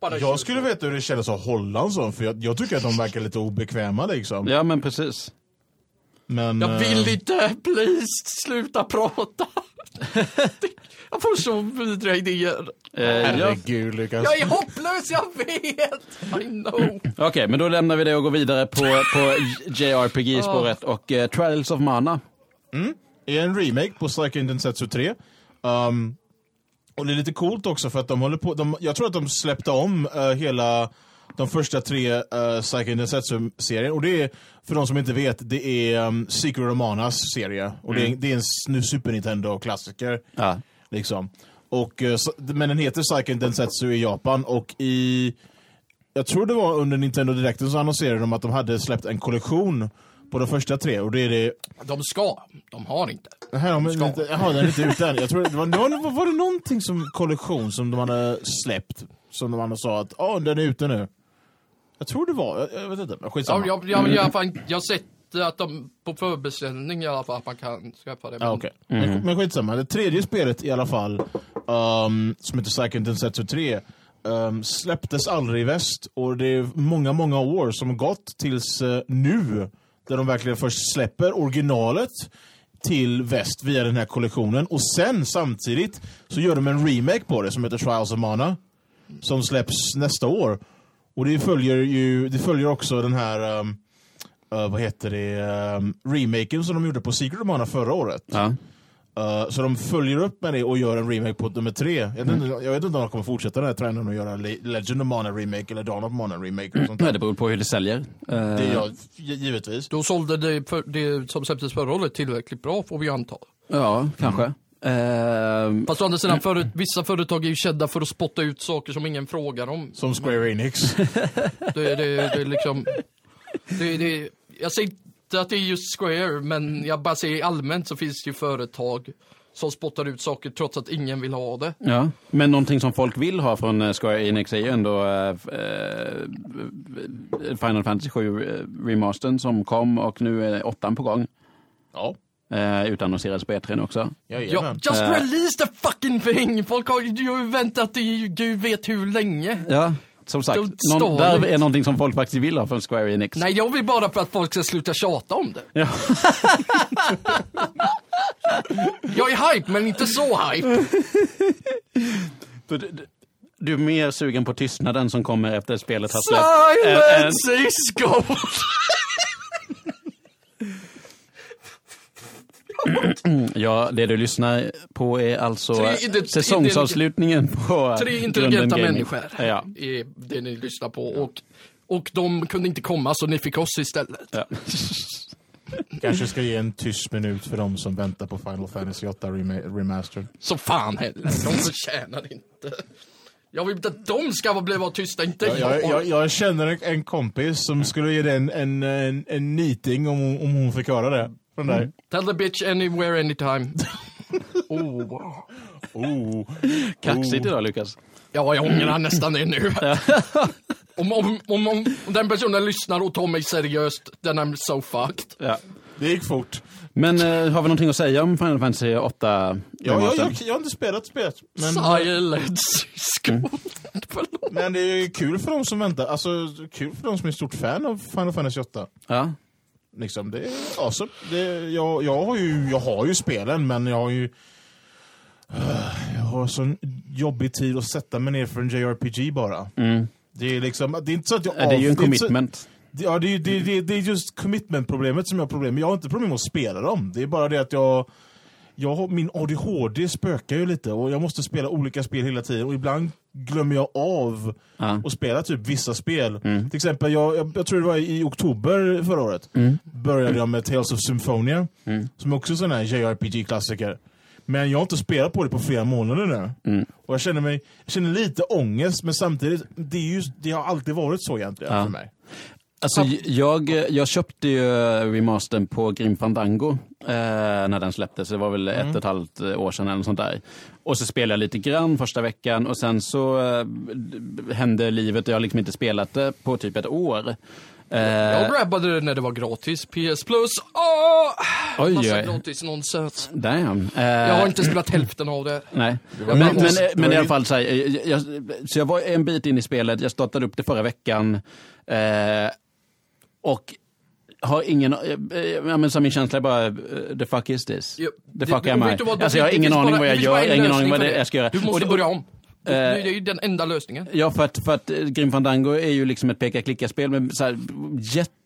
Bara Jag skulle veta hur det kändes att hålla en sån, för jag, jag tycker att de verkar lite obekväma liksom. Ja, men precis. Men, Jag vill eh, inte, please, [laughs] sluta prata. jag får så vidriga idéer. Eh, ja. Herregud Lukas. Jag är hopplös, jag vet! I know. Okej, men då lämnar vi det och går vidare på, på JRPG-spåret och eh, Trials of Mana. är en remake på Strike Densetsu 3. Um, och det är lite coolt också för att de håller på, de, jag tror att de släppte om eh, hela de första tre uh, Psycho Densetsu-serien. Och det är, för de som inte vet, det är um, Secret Romanas serie. Och det, är, det är en snu- Super Nintendo-klassiker. Ja. Liksom. Och, eh, så- men den heter Psycho Densetsu i Japan och i jag tror det var under Nintendo Directen så annonserade de att de hade släppt en kollektion på de första tre och det är det De ska, de har inte. Här, men, Ska. inte, jaha, den är inte ute än. Jag tror, det var, det var, var det någonting som kollektion som de hade släppt? Som de hade sa att ah, den är ute nu. Jag tror det var, jag, jag vet inte. men Skitsamma. Jag, jag, jag, jag, fan, jag har sett att de på förbeställning i alla fall att man kan skaffa det. Ja, okej. men, men skitsamma. Det tredje spelet i alla fall, ehm, som heter Second Densetsu 3, ehm, släpptes aldrig i väst. Och det är många, många år som har gått tills eh, nu, där de verkligen först släpper originalet till väst via den här kollektionen. Och sen samtidigt så gör de en remake på det som heter Trials of Mana, som släpps nästa år. Och det följer ju, det följer också den här ehm, eh, vad heter det, ehm, remaken som de gjorde på Secret of Mana förra året. Ja. Eh, så de följer upp med det och gör en remake på nummer tre. Jag vet, Mm. inte, jag vet inte om de kommer fortsätta den här trenden och göra Le- Legend of Mana remake eller Dawn of Mana remake och sånt Nej, där. det beror på hur det säljer. Eh, Mm. Det gör jag, gi- givetvis. Då sålde det, för, det som släpptes förra året tillräckligt bra får vi anta. Ja, kanske. Mm. Eh, Fast å andra sidan, förut, vissa företag är ju kända för att spotta ut saker som ingen frågar om. Som Square Mm. Enix. [laughs] Det, det, det är liksom... Det, det, jag säger inte att det är just Square, men jag bara säger allmänt så finns det ju företag som spottar ut saker trots att ingen vill ha det. ja. Men någonting som folk vill ha från eh, Square Enix är ju ändå eh, f- eh, Final Fantasy 7 eh, remastern som kom och nu är åttan på gång. ja. Eh, utannonserades på E3 också. Ja, Jajamän. just Eh. release the fucking thing! Folk har ju- ju väntat i gud vet hur länge. Ja, som sagt. Don't Någon, stall där it. är någonting som folk faktiskt vill ha från Square Enix. Nej, jag vill bara för att folk ska sluta tjata om det. Ja. [laughs] Jag är hype, men inte så [laughs] hype. Du, du, du är mer sugen på tystnaden som kommer efter spelet har släppts. än- än- Silence is gold! Alltså, Ja, det du lyssnar på är alltså Tre eh, inte- säsongsavslutningen på eh, Tre Grunden intelligenta Gaming. människor Ja. är det ni lyssnar på. Och, och de kunde inte komma, så ni fick oss istället. ja. Kanske ska ge en tyst minut för de som väntar på Final Fantasy 8 rema- Remastered. Så fan heller, [laughs] de förtjänar inte. Jag vill inte att de ska vara- bli vara tysta, inte Jag, jag. jag, jag, jag känner en- en kompis Mm. som skulle ge dig en, en, en, en niting om, hon- om hon fick höra det. Från Mm. dig. Tell the bitch anywhere, [laughs] anytime. oh. Oh. Kaxigt idag Lukas. Ja, jag ångrar nästan det nu. [laughs] om, om, om, om den personen lyssnar och tar mig seriöst, then I'm so fucked. Ja. Det gick fort. Men eh, har vi någonting att säga om Final Fantasy 8? Ja, jag, jag, jag har inte spelat spelet. Men, Silence is Mm. gold. Förlåt. men det är ju kul för de som väntar. Alltså, kul för de som är stort fan av Final Fantasy 8. Ja. Liksom, det är awesome. det, jag, jag, har ju, jag har ju spelen, men jag har ju... Jag har sån jobbig tid att sätta mig ner för en JRPG bara. Det är liksom, det är inte så att jag... Mm. Det är ju en inte så- commitment. Ja, det är, ju- det, det, det är just commitment-problemet som jag har problem med. Jag har inte problem med att spela dem. Det är bara det att jag... jag har, min ADHD spökar ju lite och jag måste spela olika spel hela tiden och ibland glömmer jag av Ja. Mm. att spela typ vissa spel. Till exempel, jag, jag, jag tror det var i oktober förra året, Mm. började jag med Tales of Symphonia, som är också är sån här JRPG-klassiker. Men jag har inte spelat på det på flera månader nu. Mm. Och jag känner, mig, jag känner lite ångest, men samtidigt, det, är ju, det har alltid varit så egentligen Ja. för mig. Alltså, jag, jag köpte ju remastern på Grim Fandango eh, när den släpptes. Det var väl Mm. ett och ett halvt år sedan eller något sånt där. Och så spelade jag lite grann första veckan och sen så eh, d- hände livet och jag har liksom inte spelat det på typ ett år. Eh, Jag grabbade det när det var gratis, PS plus. Åh! Oj, Ah! Massa oj. grottis nonsens. Damn. Eh, Jag har inte spelat hälften av det. Nej. var Men, men, bra. Det var men i ju- alla fall så, här, jag, jag, så jag var en bit in i spelet, jag startade upp det förra veckan eh, och har ingen, eh, eh, ja, men så min känsla är bara, eh, the fuck is this? Jo, The fuck det- am det- I? vet du vad, det Alltså jag har finns- det ingen finns aning bara- vad det jag finns bara gör, en jag har ingen lösning aning vad för det- jag ska göra. Du Och måste det- Eh, börja om. Det det är ju den enda lösningen. Ja, för att, för att eh, Grim Fandango är ju liksom ett peka-klicka-spel med så här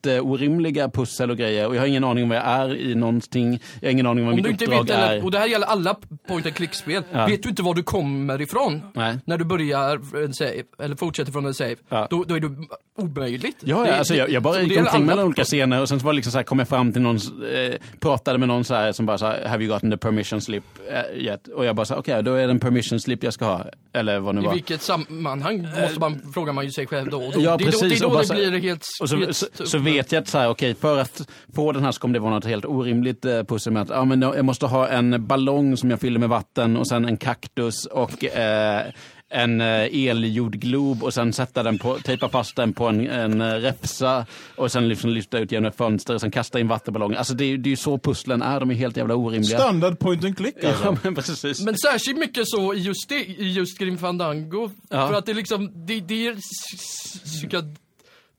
jätteorimliga pussel och grejer. Och jag har ingen aning om vad jag är i någonting. Jag har ingen aning om vad Om mitt du inte uppdrag vet, är. eller, och det här gäller alla point and click-spel, vet du inte var du kommer ifrån Nej. när du börjar en save, eller fortsätter från en save, Ja. då, då är du omöjligt. Ja, ja Det- alltså jag, jag det bara gick gäller omkring alla- mellan olika scener och sen så var det liksom så här, kom jag fram till någon, eh, pratade med någon så här, som bara sa “Have you gotten the permission slip eh, yet?” Och jag bara sa “Okej, då är det en permission slip jag ska ha”. Eller vad det nu I var. vilket sammanhang måste man, frågar man ju sig själv då och då. Ja, det, är då precis, det är då och bara det så- blir helt... Och så, helt så, så vet jag att så här, okej, för att få den här så kommer det vara något helt orimligt eh, pussel med att ah, men jag jag måste ha en ballong som jag fyller med vatten och sen en kaktus och eh, en eh, eljordglob och sen sätta den på, tejpa fast den på en, en eh, räfsa och sen liksom lyfta ut genom ett fönster och sen kasta in vattenballongen. Alltså det är ju det är ju så pusslen är, de är helt jävla orimliga. Standard point and click alltså. [laughs] Ja, men precis. Men särskilt mycket så i just det, i just Grim Fandango. Ja. För att det är liksom, det, det är s- s-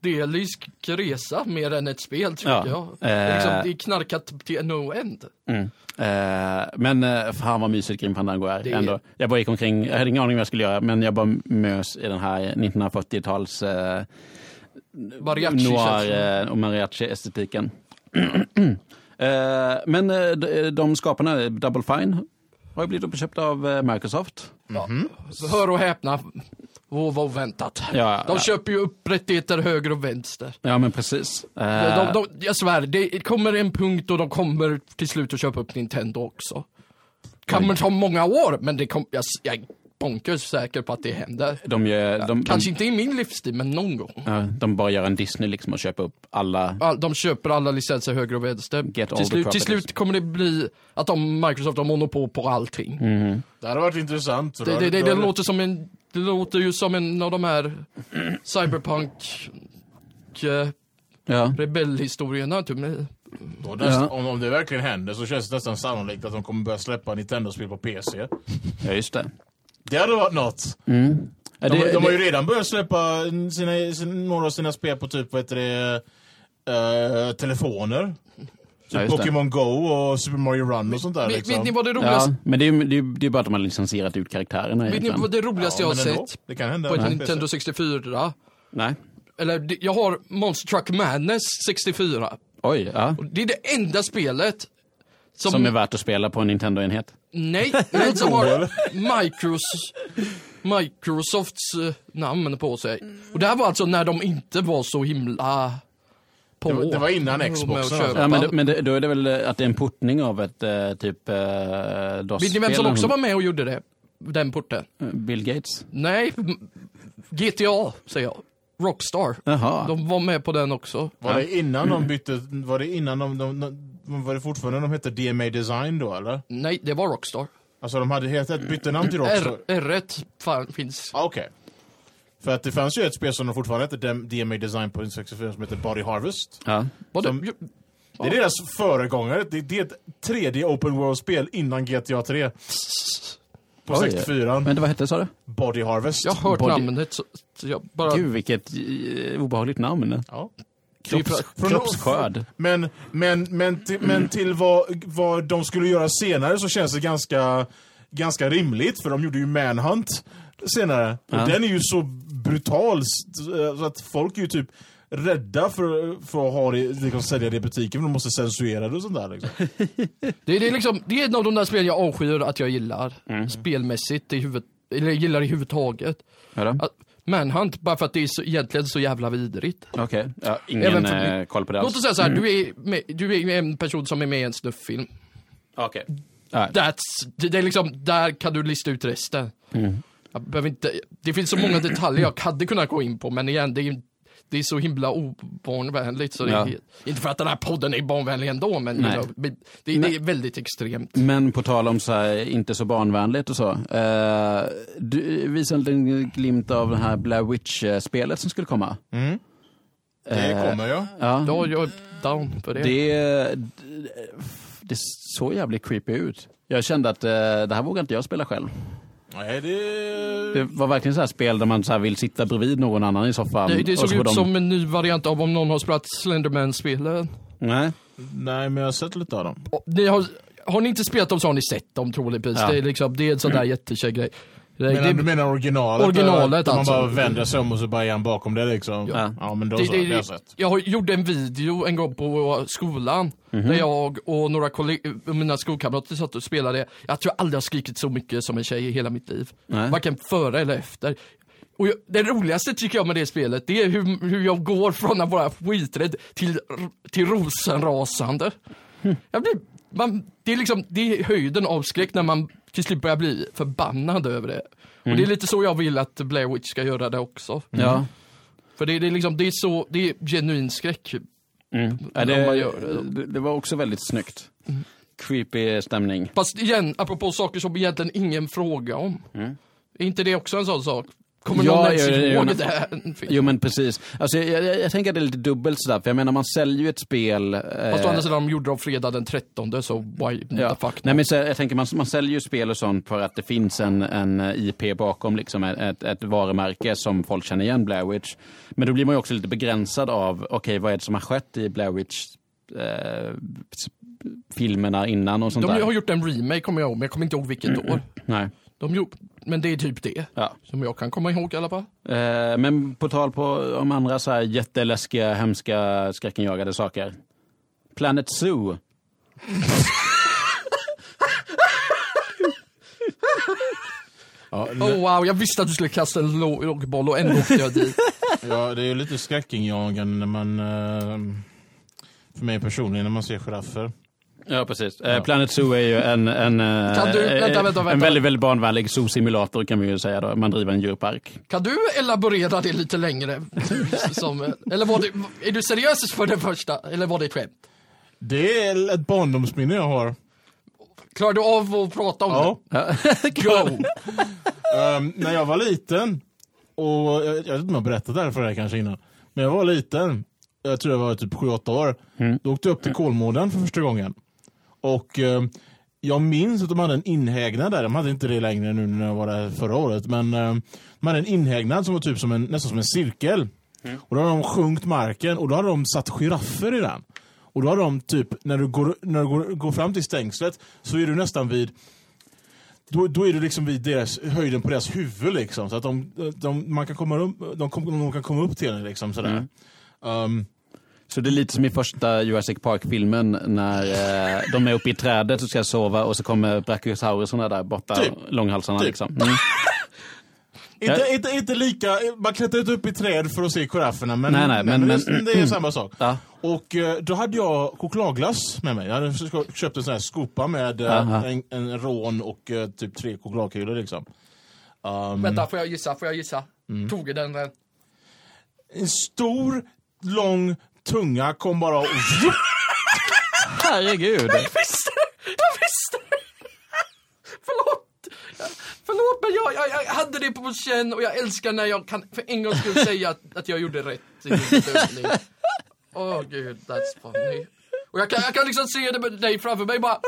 psykedelisk resa mer än ett spel tycker Ja. jag. Det är, liksom, Eh. det är knarkat till no end. Mm. Eh, men eh, fan vad mysigt Grim Fandango är Det är- ändå. Jag bara gick omkring, jag hade ingen aning vad jag skulle göra, men jag bara mös i den här 1940-tals eh, Mariachi-känslan. noir eh, och mariachi-estetiken. [clears throat] eh, men eh, de, de skaparna, Double Fine, har ju blivit uppköpta av eh, Microsoft. Så Hör och häpna. Åh, vad oväntat. Ja, De ja. köper ju upp rättigheter höger och vänster. Ja men precis. Eh, De, de, jag svär, det kommer en punkt och de kommer till slut att köpa upp Nintendo också. Kommer ta många år, men det kom, jag, jag är bonkers säker på att det händer. de gör- de- de- Kanske inte i min livstid, men någon gång. ja, de bara gör en Disney liksom och köper upp alla All, de köper alla licenser höger och vänster. Get all till, the slut, till properties. slut kommer det bli att de, Microsoft har monopol på allting. Mm. Det hade varit intressant. Det, det, det, det låter som en, det låter ju som en av de här cyberpunk eh, ja. rebellhistorierna. Typ. med- Då nästan, Ja. om, om det verkligen händer så känns det nästan sannolikt att de kommer börja släppa Nintendo-spel på PC. Ja, just det. Det hade varit något. Ja, De, det- de har ju redan börjat släppa sina, sina, några av sina spel på typ, vad heter det, eh, telefoner. ja, just det. Pokémon Go och Super Mario Run och sånt där Vet, vet ni liksom. vad det roligaste, Ja, men det är ju det är, ju- det är bara att de har licensierat ut karaktärerna vet ni egentligen. vad det roligaste jag har men ändå, sett? Det kan hända. På ett Nej. Nintendo 64. Nej. Eller det- jag har Monster Truck Madness 64. Oj, ja. Och Det är det enda spelet som, Som är värt att spela på en Nintendo-enhet. [laughs] nej, men som har Micros, Microsofts eh, namn på sig. Och det här var alltså när de inte var så himla på. Det var- det var innan med att Xboxen, alltså. köpa. Ja, men det, men det, då är det väl eh, att det är en portning av ett eh, typ eh, dos Vet ni vem som också var med och gjorde det? Den porten? Bill Gates? Nej, m- GTA säger jag. Rockstar. Jaha. De var med på den också. Var det innan de bytte, var det innan de, de, de var det fortfarande de hette DMA Design då eller? Nej, det var Rockstar. Alltså de hade helt ett bytte namn till Rockstar? R, R1 fan, finns. Ah, Okej. För att det fanns ju ett spel som de fortfarande hette Dem- DMA Design på 64 som heter Body Harvest. Ja. Var Som- det, Det är deras föregångare. Det det är ett tredje open world-spel innan GTA 3. På Oj. 64. Men det, vad hette sa du? Body Harvest. jag har hört Body- namnet. Så, så jag bara, Gud, vilket eh, obehagligt namn. Ja. Kropps, Från- kroppsskörd. Men, men, men, till, men till vad, vad de skulle göra senare så känns det ganska, ganska rimligt. För de gjorde ju Manhunt senare. Ja. Och den är ju så brutal s- så att folk är ju typ rädda för, för att ha det, liksom, sälja det i butiken. För de måste censurera det och sånt där. Liksom. det, det, är liksom, det är en av de där spelen jag avskyr att jag gillar. Mhm. Spelmässigt i huvudet. Eller jag gillar i huvud taget. Hörru? Att- Manhunt, bara för att det är så, egentligen så jävla vidrigt. Okej, ja, Även ingen för- eh, koll på det Låt alls. oss säga så här, du, är med, du är en person som är med i en snufffilm. Okej. Ja. That's, det, det är liksom, där kan du lista ut resten. Mm. Jag behöver inte, det finns så många detaljer jag hade kunnat gå in på, men igen, det är, det är så himla obarnvänligt. Så Ja. det är, inte för att den här podden är barnvänlig ändå, men Nej. det, det, det är väldigt extremt. Men på tal om så här, inte så barnvänligt och så. Eh, du visade en liten glimt av det här Blair Witch-spelet som skulle komma. Mm. Det kommer jag. Ja, Ja, jag är down för det. det, det såg jävligt creepy ut. Jag kände att eh, det här vågar inte jag spela själv. Nej, det... Det var verkligen så här spel där man så här vill sitta bredvid någon annan i soffan. Det, det och såg så ut får de- som en ny variant av om någon har spelat Slenderman-spelen. Nej. Nej, men jag har sett lite av dem. Och Ni har, har ni inte spelat dem så har ni sett dem troligtvis. Ja. Det, är liksom, det är en sån där jättekäck grej. Det, Menar, det, du menar originalet? Originalet, där man alltså. bara vänder sig om och så bara är han bakom det liksom. Ja. Ja, men då det, så, det, det har jag sett. jag har- gjorde en video en gång på skolan. Mhm. Där jag och några kolleg- mina skolkamrater satt och spelade. Jag tror jag aldrig har skrikit så mycket som en tjej i hela mitt liv. Nej. Varken före eller efter. Och jag, det roligaste tycker jag med det spelet, det är hur, hur jag går från att vara skiträdd till, [laughs] till rosenrasande. Jag blir, man, det, är liksom, det är höjden av skräck när man till slut börjar bli förbannad över det. Och Mm. det är lite så jag vill att Blair Witch ska göra det också. Ja. För det, det är liksom, det är så, det är genuin skräck. Ja, Om det, man Mm. gör det Mm. det, det var också väldigt snyggt. Creepy stämning. Fast igen, apropå saker som egentligen ingen frågar om. Är inte det också en sån sak? Kommer Mm. Ja, någon ens ja, ja, ja, ihåg ja. det här? [laughs] Jo men precis. Alltså, jag, jag, jag tänker att det är lite dubbelt sådär, för jag menar man säljer ju ett spel... eh, Fast å andra sidan, de gjorde det fredag den 13 så why Ja. the fuck. Nej, men så, jag tänker man, man säljer ju spel och sånt för att det finns en, en IP bakom, liksom ett, ett- ett varumärke som folk känner igen, Blair Witch. Men då blir man ju också lite begränsad av, okej vad är det som har skett i Blair Witch eh, s- filmerna innan och sånt De där. Mm, har gjort en remake kommer jag ihåg, men jag kommer inte ihåg vilket år. Nej. De gjorde, men det är typ det, Ja. som jag kan komma ihåg i alla fall. Eh, men på tal på, om andra så här jätteläskiga, hemska, skräckenjagade saker. Planet Zoo. Oh wow, jag visste att du skulle kasta en lå- lågboll och ändå åkte jag [laughs] dit. Ja, det är ju lite skräckinjagande när man... eh, För mig personligen, när man ser giraffer. Ja, precis. Eh, Planet Zoo är ju en, en, eh, Kan du- vänta, vänta, eh, vänta. en väldigt, väldigt barnvänlig zoosimulator kan vi ju säga då. Man driver en djurpark. Kan du elaborera det lite [laughs] längre? Som, eller var det, är du seriös för det första, eller var det ett skämt? Det är ett barndomsminne jag har. Klarar du av att prata om Ja. det? Go! Ehm, när jag var liten, och jag, jag vet inte om jag berättat det här för dig kanske innan, men jag var liten, jag tror jag var typ 7-8 år, då åkte jag upp till Kolmården för första gången. Och ehm, jag minns att de hade en inhägnad där, de hade inte det längre nu när jag var där förra året, men ehm, de hade en inhägnad som var typ som en, nästan som en cirkel. Och då hade de sjunkit marken och då hade de satt giraffer i den. Och då hade de typ, när du går, när du går, går fram till stängslet så är du nästan vid då, då är du liksom vid deras, höjden på deras huvud liksom. Så att de, de, man kan komma upp, de, kom, de kan komma upp till en liksom sådär. Mm. Ehm, Så det är lite som i första Jurassic Park-filmen när eh, de är uppe i trädet och ska sova och så kommer brachiosaurusarna där borta, Typ. långhalsarna Typ. liksom. Mm. inte, inte, inte lika, man klättrar inte upp i träd för att se girafferna men, Nej, nej, men- det, men- mm. det är samma sak. Ja. Och eh, då hade jag chokladglass med mig. Jag hade sko- köpt en sån här skopa med eh, Aha. en, en rån och eh, typ tre chokladkulor liksom. Ehm, Vänta, får jag gissa? Får jag gissa? Tog den eh, den? en stor, lång tunga kom bara och Herregud. Visste du? Jag visste det! [laughs] Förlåt! Förlåt men jag, jag, jag hade det på känn och jag älskar när jag kan för en gång skulle säga att, att jag gjorde rätt i min bedömning. Åh gud, that's funny. Och jag kan, jag kan liksom se det med dig framför mig bara [laughs]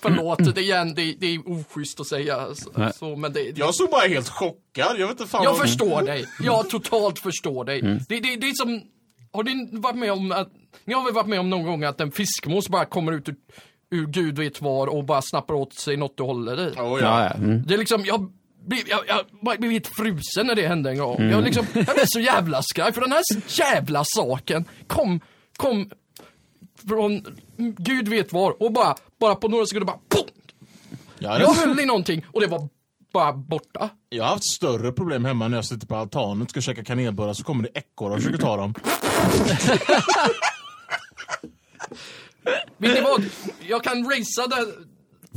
Förlåt det igen, det, det är oschysst att säga så, Nej. så men det, det Jag såg bara helt chockad, jag vet inte fan Jag vad- förstår dig. Jag totalt förstår dig. Det, det, det är som, har ni varit med om att, ni har väl varit med om någon gång att en fiskmås bara kommer ut ur, ur gud vet var och bara snappar åt sig något du håller i? Oh, Ja, ja. Mm. Det är liksom, jag blev, jag, jag, bara blev helt frusen när det hände en gång. Jag, liksom, jag blev så jävla skraj för den här jävla saken kom, kom från gud vet var och bara, bara på några sekunder bara pong! Ja, det- Jag höll i någonting och det var bara borta. Jag har haft större problem hemma när jag sitter på altanen och ska käka kanelbullar så kommer det ekorrar och försöker ta dem. Vet ni vad? Jag kan racea det,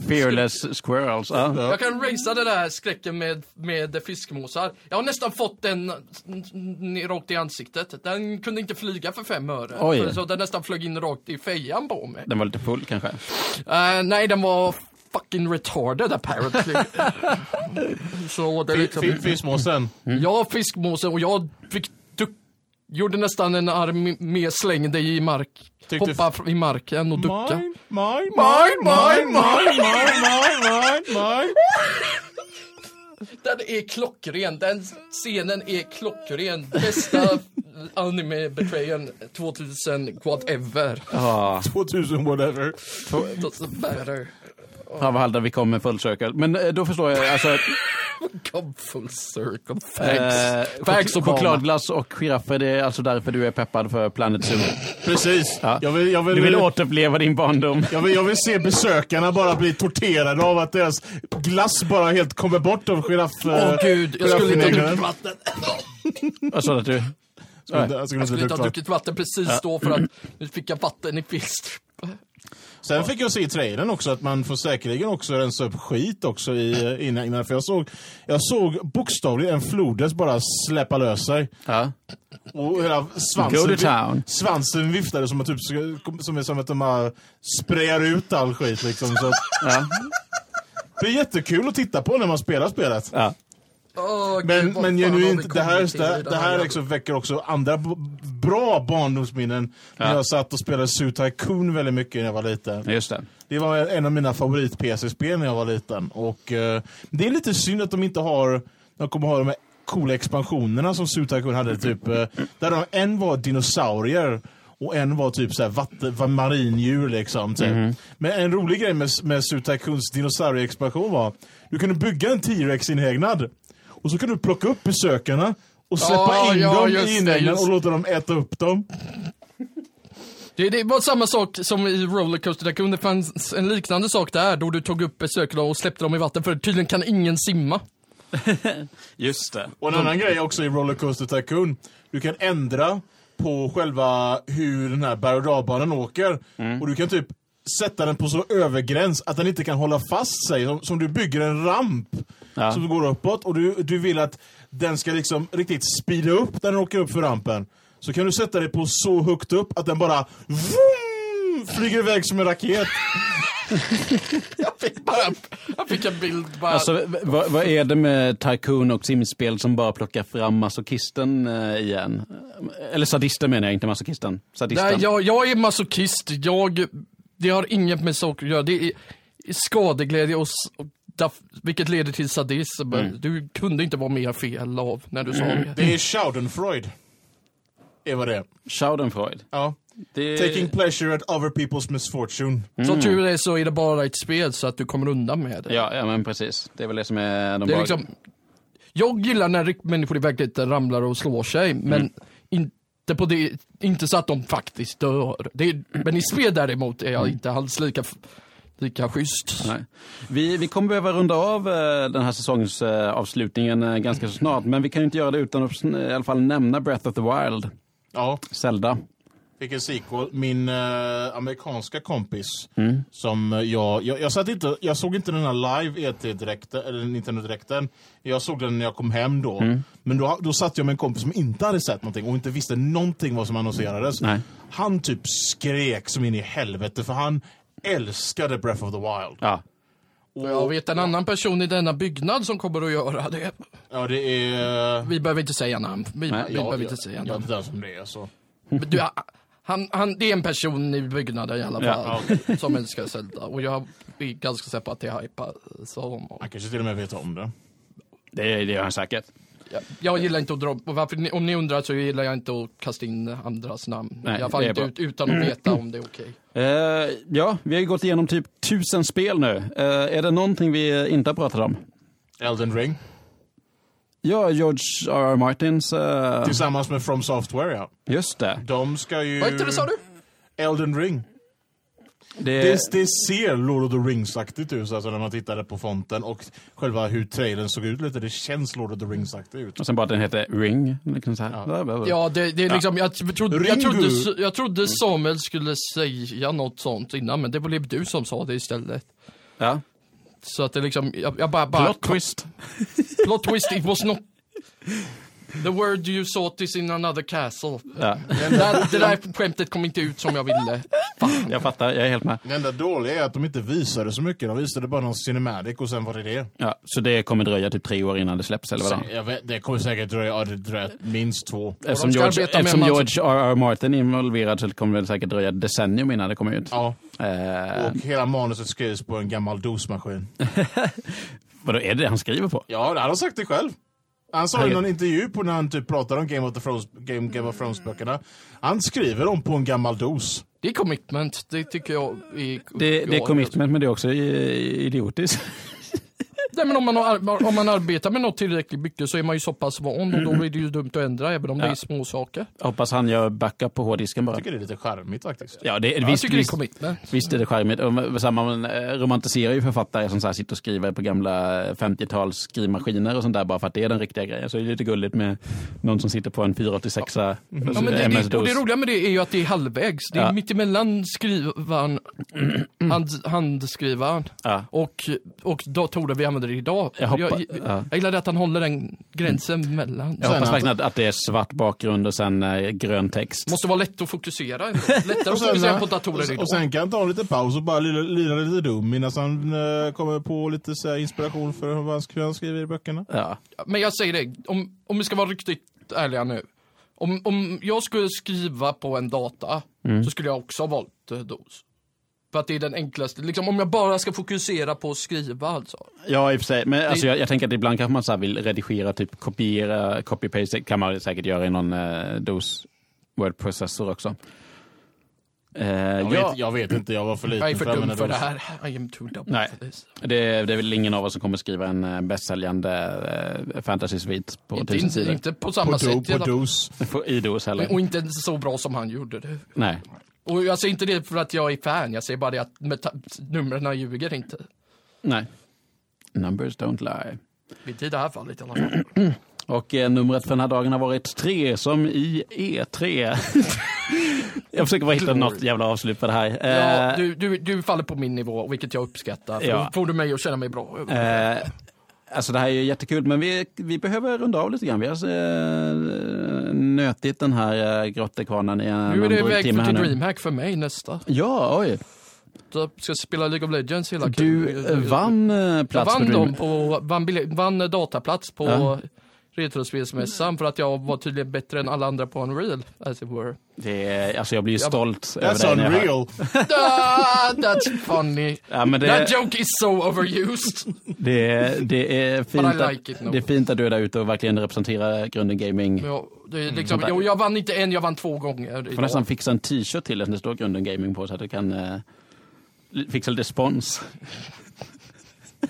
Fearless squirrels. Ja. Jag kan racea den där skräcken med, med fiskmåsar. Jag har nästan fått den n- n- rakt i ansiktet. Den kunde inte flyga för fem öre. Oj. Så- Så den nästan flög in rakt i fejan på mig. Den var lite full kanske. Eh, nej, den var fucking [laughs] retarded apparently. Så det är Fi- mm. liksom... Fiskmåsen. Jag fiskmåsen och jag fick duck... gjorde nästan en armé, slängde i mark. Tyckte- Hoppa fr- i marken och ducka. Mine, mine, Mine, mine, mine, mine, mine, mine. Den är klockren, den scenen är klockren. Bästa anime betrayen 2000 whatever. Ja, 2000 whatever. Doesn't matter. fan vad halda vi kommer full circle. Men eh, då förstår jag alltså. att, Come full circle. eh, Thanks. Thanks chok- Obama. Chokladglass och giraffer, det är alltså därför du är peppad för Planet Zoo. Precis. Ja. Jag, vill, jag, vill, Du vill återuppleva din barndom. jag, vill, jag vill se besökarna bara bli torterade av att deras glass bara helt kommer bort av giraff... Åh gud, jag skulle inte ha druckit vatten. Vad sa du? Jag skulle Jag inte ha skulle inte ha druckit druckit vatten precis då för att nu fick jag vatten i fist. Sen fick jag se i trailern också att man får säkerligen också rensa upp skit också i, innan, innan. För jag såg, jag såg bokstavligen en flodhäst bara släppa lös sig. Ja. Och hela svansen, Go to vi- town. svansen viftade som, att typ, som, är som att de här sprayar ut all skit liksom. Så att, Ja. det är jättekul att titta på när man spelar spelet. Ja. Åh, gud, Men, men vad fan har vi genuint, det kommit här, till det i här, det här jävla- liksom väcker också andra b- bra barndomsminnen. När jag satt och spelade Zoo Tycoon väldigt mycket när jag var liten. Just det. Det var en av mina favorit-PC-spel när jag var liten. Och eh, Det är lite synd att de inte har, de kommer ha de här coola expansionerna som Zoo Tycoon hade. Typ, eh, där de, en var dinosaurier och en var typ så här vatten, var marindjur. Liksom, typ. Mhm. Men en rolig grej med, med Zoo Tycoons dinosaurieexpansion var du kunde bygga en T-Rex-inhägnad och så kunde du plocka upp besökarna och släppa Ja, in ja, dem just det, i inhägnaden just och låta dem äta upp dem. Det, det var samma sak som i Rollercoaster Tycoon. Det fanns en liknande sak där då du tog upp besökarna och släppte dem i vatten för tydligen kan ingen simma. Just det. Och en annan grej också i Rollercoaster Tycoon. Du kan ändra på själva hur den här berg och dalbanan åker. Och du kan typ sätta den på så övergräns att den inte kan hålla fast sig. Som, som du bygger en ramp Ja. som går uppåt och du, du vill att den ska liksom riktigt speeda upp när den åker upp för rampen. Så kan du sätta dig på så högt upp att den bara vroom, flyger iväg som en raket. Jag fick bara, jag fick en bild bara. Alltså, v- vad, vad är det med Tycoon och simspel som bara plockar fram masochisten eh, igen? Eller sadisten menar jag, inte masochisten. Sadisten. Nej, jag, jag är masochist. Jag, det har inget med saker att göra. Det är skadeglädje och, s- och daf- vilket leder till sadism. Mm. Du kunde inte vara mer fel av när du sa det. Det är Schadenfreude. Det var det. Schadenfreud. Ja. Det... Taking pleasure at other people's misfortune. Som tur är så är det bara ett spel så att du kommer undan med det. Mm. Ja, ja, men precis. Det är väl det som är de Det är bra- liksom, jag gillar när rikt- människor i verkligheten ramlar och slår sig, men Mm. inte, på det, inte så att de faktiskt dör. Det är, men i spel däremot är jag Mm. inte alls lika, f- lika schysst. Nej. Vi, vi kommer behöva runda av eh, den här säsongsavslutningen eh, ganska så snart, men vi kan ju inte göra det utan att sn- i alla fall nämna Breath of the Wild, Ja. Zelda. Fick en sequel. Min eh, amerikanska kompis som eh, jag, jag, jag, satt inte, jag såg inte den här live ET-direkten, eller Nintendo-direkten. Jag såg den när jag kom hem då. Men då, då satt jag med en kompis som inte hade sett någonting och inte visste någonting vad som annonserades. Nej. Han typ skrek som in i helvete för han älskade Breath of the Wild. Ja. Och jag vet en annan person i denna byggnad som kommer att göra det. Ja, det är... eh, Vi behöver inte säga namn. Vi, Nej, vi ja, behöver jag- inte säga jag vet namn. inte ens om det är så. Men Du, han, han, det är en person i byggnaden i alla Ja, fall som älskar Zelda. Och jag är ganska säker på att det är hypa som Han kanske till och med vet om det. Det, det gör han säkert. Jag, jag gillar inte att dra, och varför, ni- om ni undrar så gillar jag inte att kasta in andras namn. Nej, I alla fall det är inte bra. ut, utan att veta om det är okej. Eh, ja, vi har ju gått igenom typ tusen spel nu. Eh, är det någonting vi inte har pratat om? Elden Ring. Ja, George R. R. Martins... eh, Tillsammans med From Software, ja. just det. De ska ju... Vad hette det sa du? Mm. Elden Ring. Det, Det, det ser Lord of the Rings-aktigt ut, alltså när man tittade på fonten och själva hur trailern såg ut lite. Det känns Lord of the Rings-aktigt ut. Och sen bara att den heter Ring. Liksom så här. Ja, det, det är liksom, jag, trodde, jag, Ringu. trodde, jag trodde Samuel skulle säga något sånt innan, men det blev du som sa det istället. Ja. Så att det liksom, jag, jag bara, bara Plot twist. plot twist, it was not. The word you sought is in another [laughs] castle. Ja. Det där, det där skämtet kom inte ut som jag ville. Fan. Jag fattar, jag är helt med. Det enda dåliga är att de inte visade så mycket. De visade bara någon cinematic och sen var det det. Ja, så det kommer dröja typ tre år innan det släpps eller vadå? Jag vet, det kommer säkert dröja, ja, det dröjer minst två. Eftersom ska George, arbeta med eftersom en massa- George R.R. Martin är involverad så kommer det säkert dröja ett decennium innan det kommer ut. Ja, Eh, och hela manuset skrivs på en gammal dosmaskin. vadå, är det det han skriver på? Ja, han har sagt det själv. Han sa i Herregud. någon intervju på när han typ pratade om Game of, the Thrones, Game, Game of Thrones-böckerna. Han skriver dem på en gammal dos. Det är commitment, det tycker jag är... Det, det är ja, commitment, men det är också i- idiotiskt. Nej men om man, har, om man arbetar med något tillräckligt mycket så är man ju så pass van och då blir det ju dumt att ändra även om det Mm. Ja. är små saker. Hoppas han gör backup på hårddisken bara. Jag tycker det är lite charmigt faktiskt. Ja, det, Jag visst, tycker det är visst, commitment. visst är det charmigt. Och så här, Man eh, romantiserar ju författare som så här sitter och skriver på gamla 50-tals skrivmaskiner och sånt där bara för att det är den riktiga grejen. Så det är lite gulligt med någon som sitter på en 486 ja. Ja, men Alltså, det, det, och det alltså, MS-dos. roliga med det är ju att det är halvvägs. Det är Ja. [clears throat] mittemellan skrivaren, hand, handskrivaren Ja. och, och datorer vi använder idag. Jag hoppa- jag, ja. jag gillar det att han håller den gränsen Mm. mellan. Jag Sen hoppas att- verkligen att, att det är svart bakgrund och sen eh, grön text. Måste vara lätt att [laughs] fokusera. ändå. Lättare att fokusera på datorer och, idag. och sen kan han ta en liten paus och bara lira, lira lite dum innan han eh, kommer på lite så här, inspiration för hur han, sk- hur han skriver i böckerna. Ja. Men jag säger det, om, om vi ska vara riktigt ärliga nu. Om, om jag skulle skriva på en data Mm. så skulle jag också ha valt eh, DOS. För att det är den enklaste, liksom om jag bara ska fokusera på att skriva alltså. Ja, i och för sig. Men alltså, jag, jag tänker att ibland kanske man så här vill redigera, typ kopiera, copy-paste kan man säkert göra i någon eh, DOS word-processor också. Eh, Jag, ja, vet, jag vet inte, jag var för liten Jag är för att dum använda för det dos. här. I am too dumb Nej. for this. det, det är väl ingen av oss som kommer skriva en eh, bästsäljande eh, fantasy-svit på Inte, tusen inte, sidor. inte på samma På, sätt. do, i på alla- dos. För- I DOS heller. och inte så bra som han gjorde det. Nej. Och jag säger inte det för att jag är fan, jag säger bara det att meta- numren ljuger inte. Nej. Numbers don't lie. Inte i det här fallet i alla fall. Och eh, numret för den här dagen har varit 3 som i E3. [laughs] jag försöker bara hitta Glory. något jävla avslut på det här. Ja, Eh, du, du, du faller på min nivå, vilket jag uppskattar. För Ja. Då får du mig att känna mig bra. Eh, alltså det här är ju jättekul, men vi, vi behöver runda av lite grann. Vi har eh, nötit den här eh, grottekvarnen i en nu är det dryg väg timme här till nu. Dreamhack för mig nästa. Ja, oj. Jag ska spela League of Legends hela Du eh, vann eh, Jag plats vann, på dem Dream. på, vann, bille- vann dataplats på Ja. Retrospelsmässan för att jag var tydligen bättre än alla andra på Unreal, as it [laughs] were. Det är, alltså jag blir ju stolt över That's dig. när jag hör- unreal. Ah, that's funny. Ja, men det, That joke is so overused. det, det, är fint But I att, like it, no. det är fint att du är där ute och verkligen representerar Grunden Gaming. Du Ja, det är liksom, sånt där. jo, jag vann inte en, jag vann två gånger. Mm, får idag. nästan fixa en t-shirt till dig som det står Grunden Gaming på så att du kan eh, li- fixa lite spons.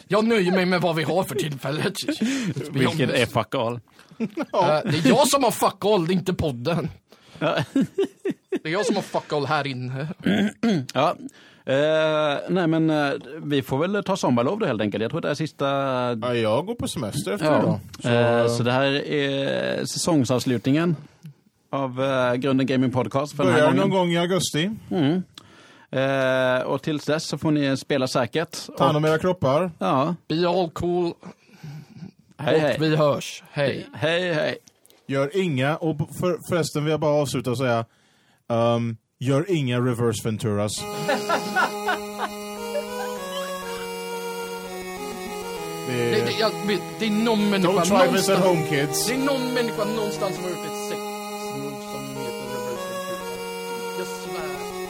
Jag nöjer mig med vad vi har för tillfället. [laughs] Vilket är fuck all. Eh, Det är jag som har fuck all, det är inte podden. Ja. Det är jag som har fuck all här inne. Ja. Eh, nej men eh, vi får väl ta sommarlov då helt enkelt. Jag tror det är sista... Ja, jag går på semester efter Ja. idag. Så, Eh, så det här är säsongsavslutningen av eh, Grunden Gaming Podcast för den här Börjar någon gången. gång i augusti. Mm. Eh, och tills dess så får ni spela säkert. Ta hand Och- om era kroppar. Ja, Be all cool hej hej. och vi hörs. Hej. Hej hej. Gör inga, och för, förresten vill jag bara avsluta och säga, ehm, gör inga reverse [laughs] Venturas. Det, Det, det, jag, det är någon människa don't try this at någonstans. home kids. Det är någon människa någonstans som har gjort ett sexmord som heter reverse Ventura. Jag svär.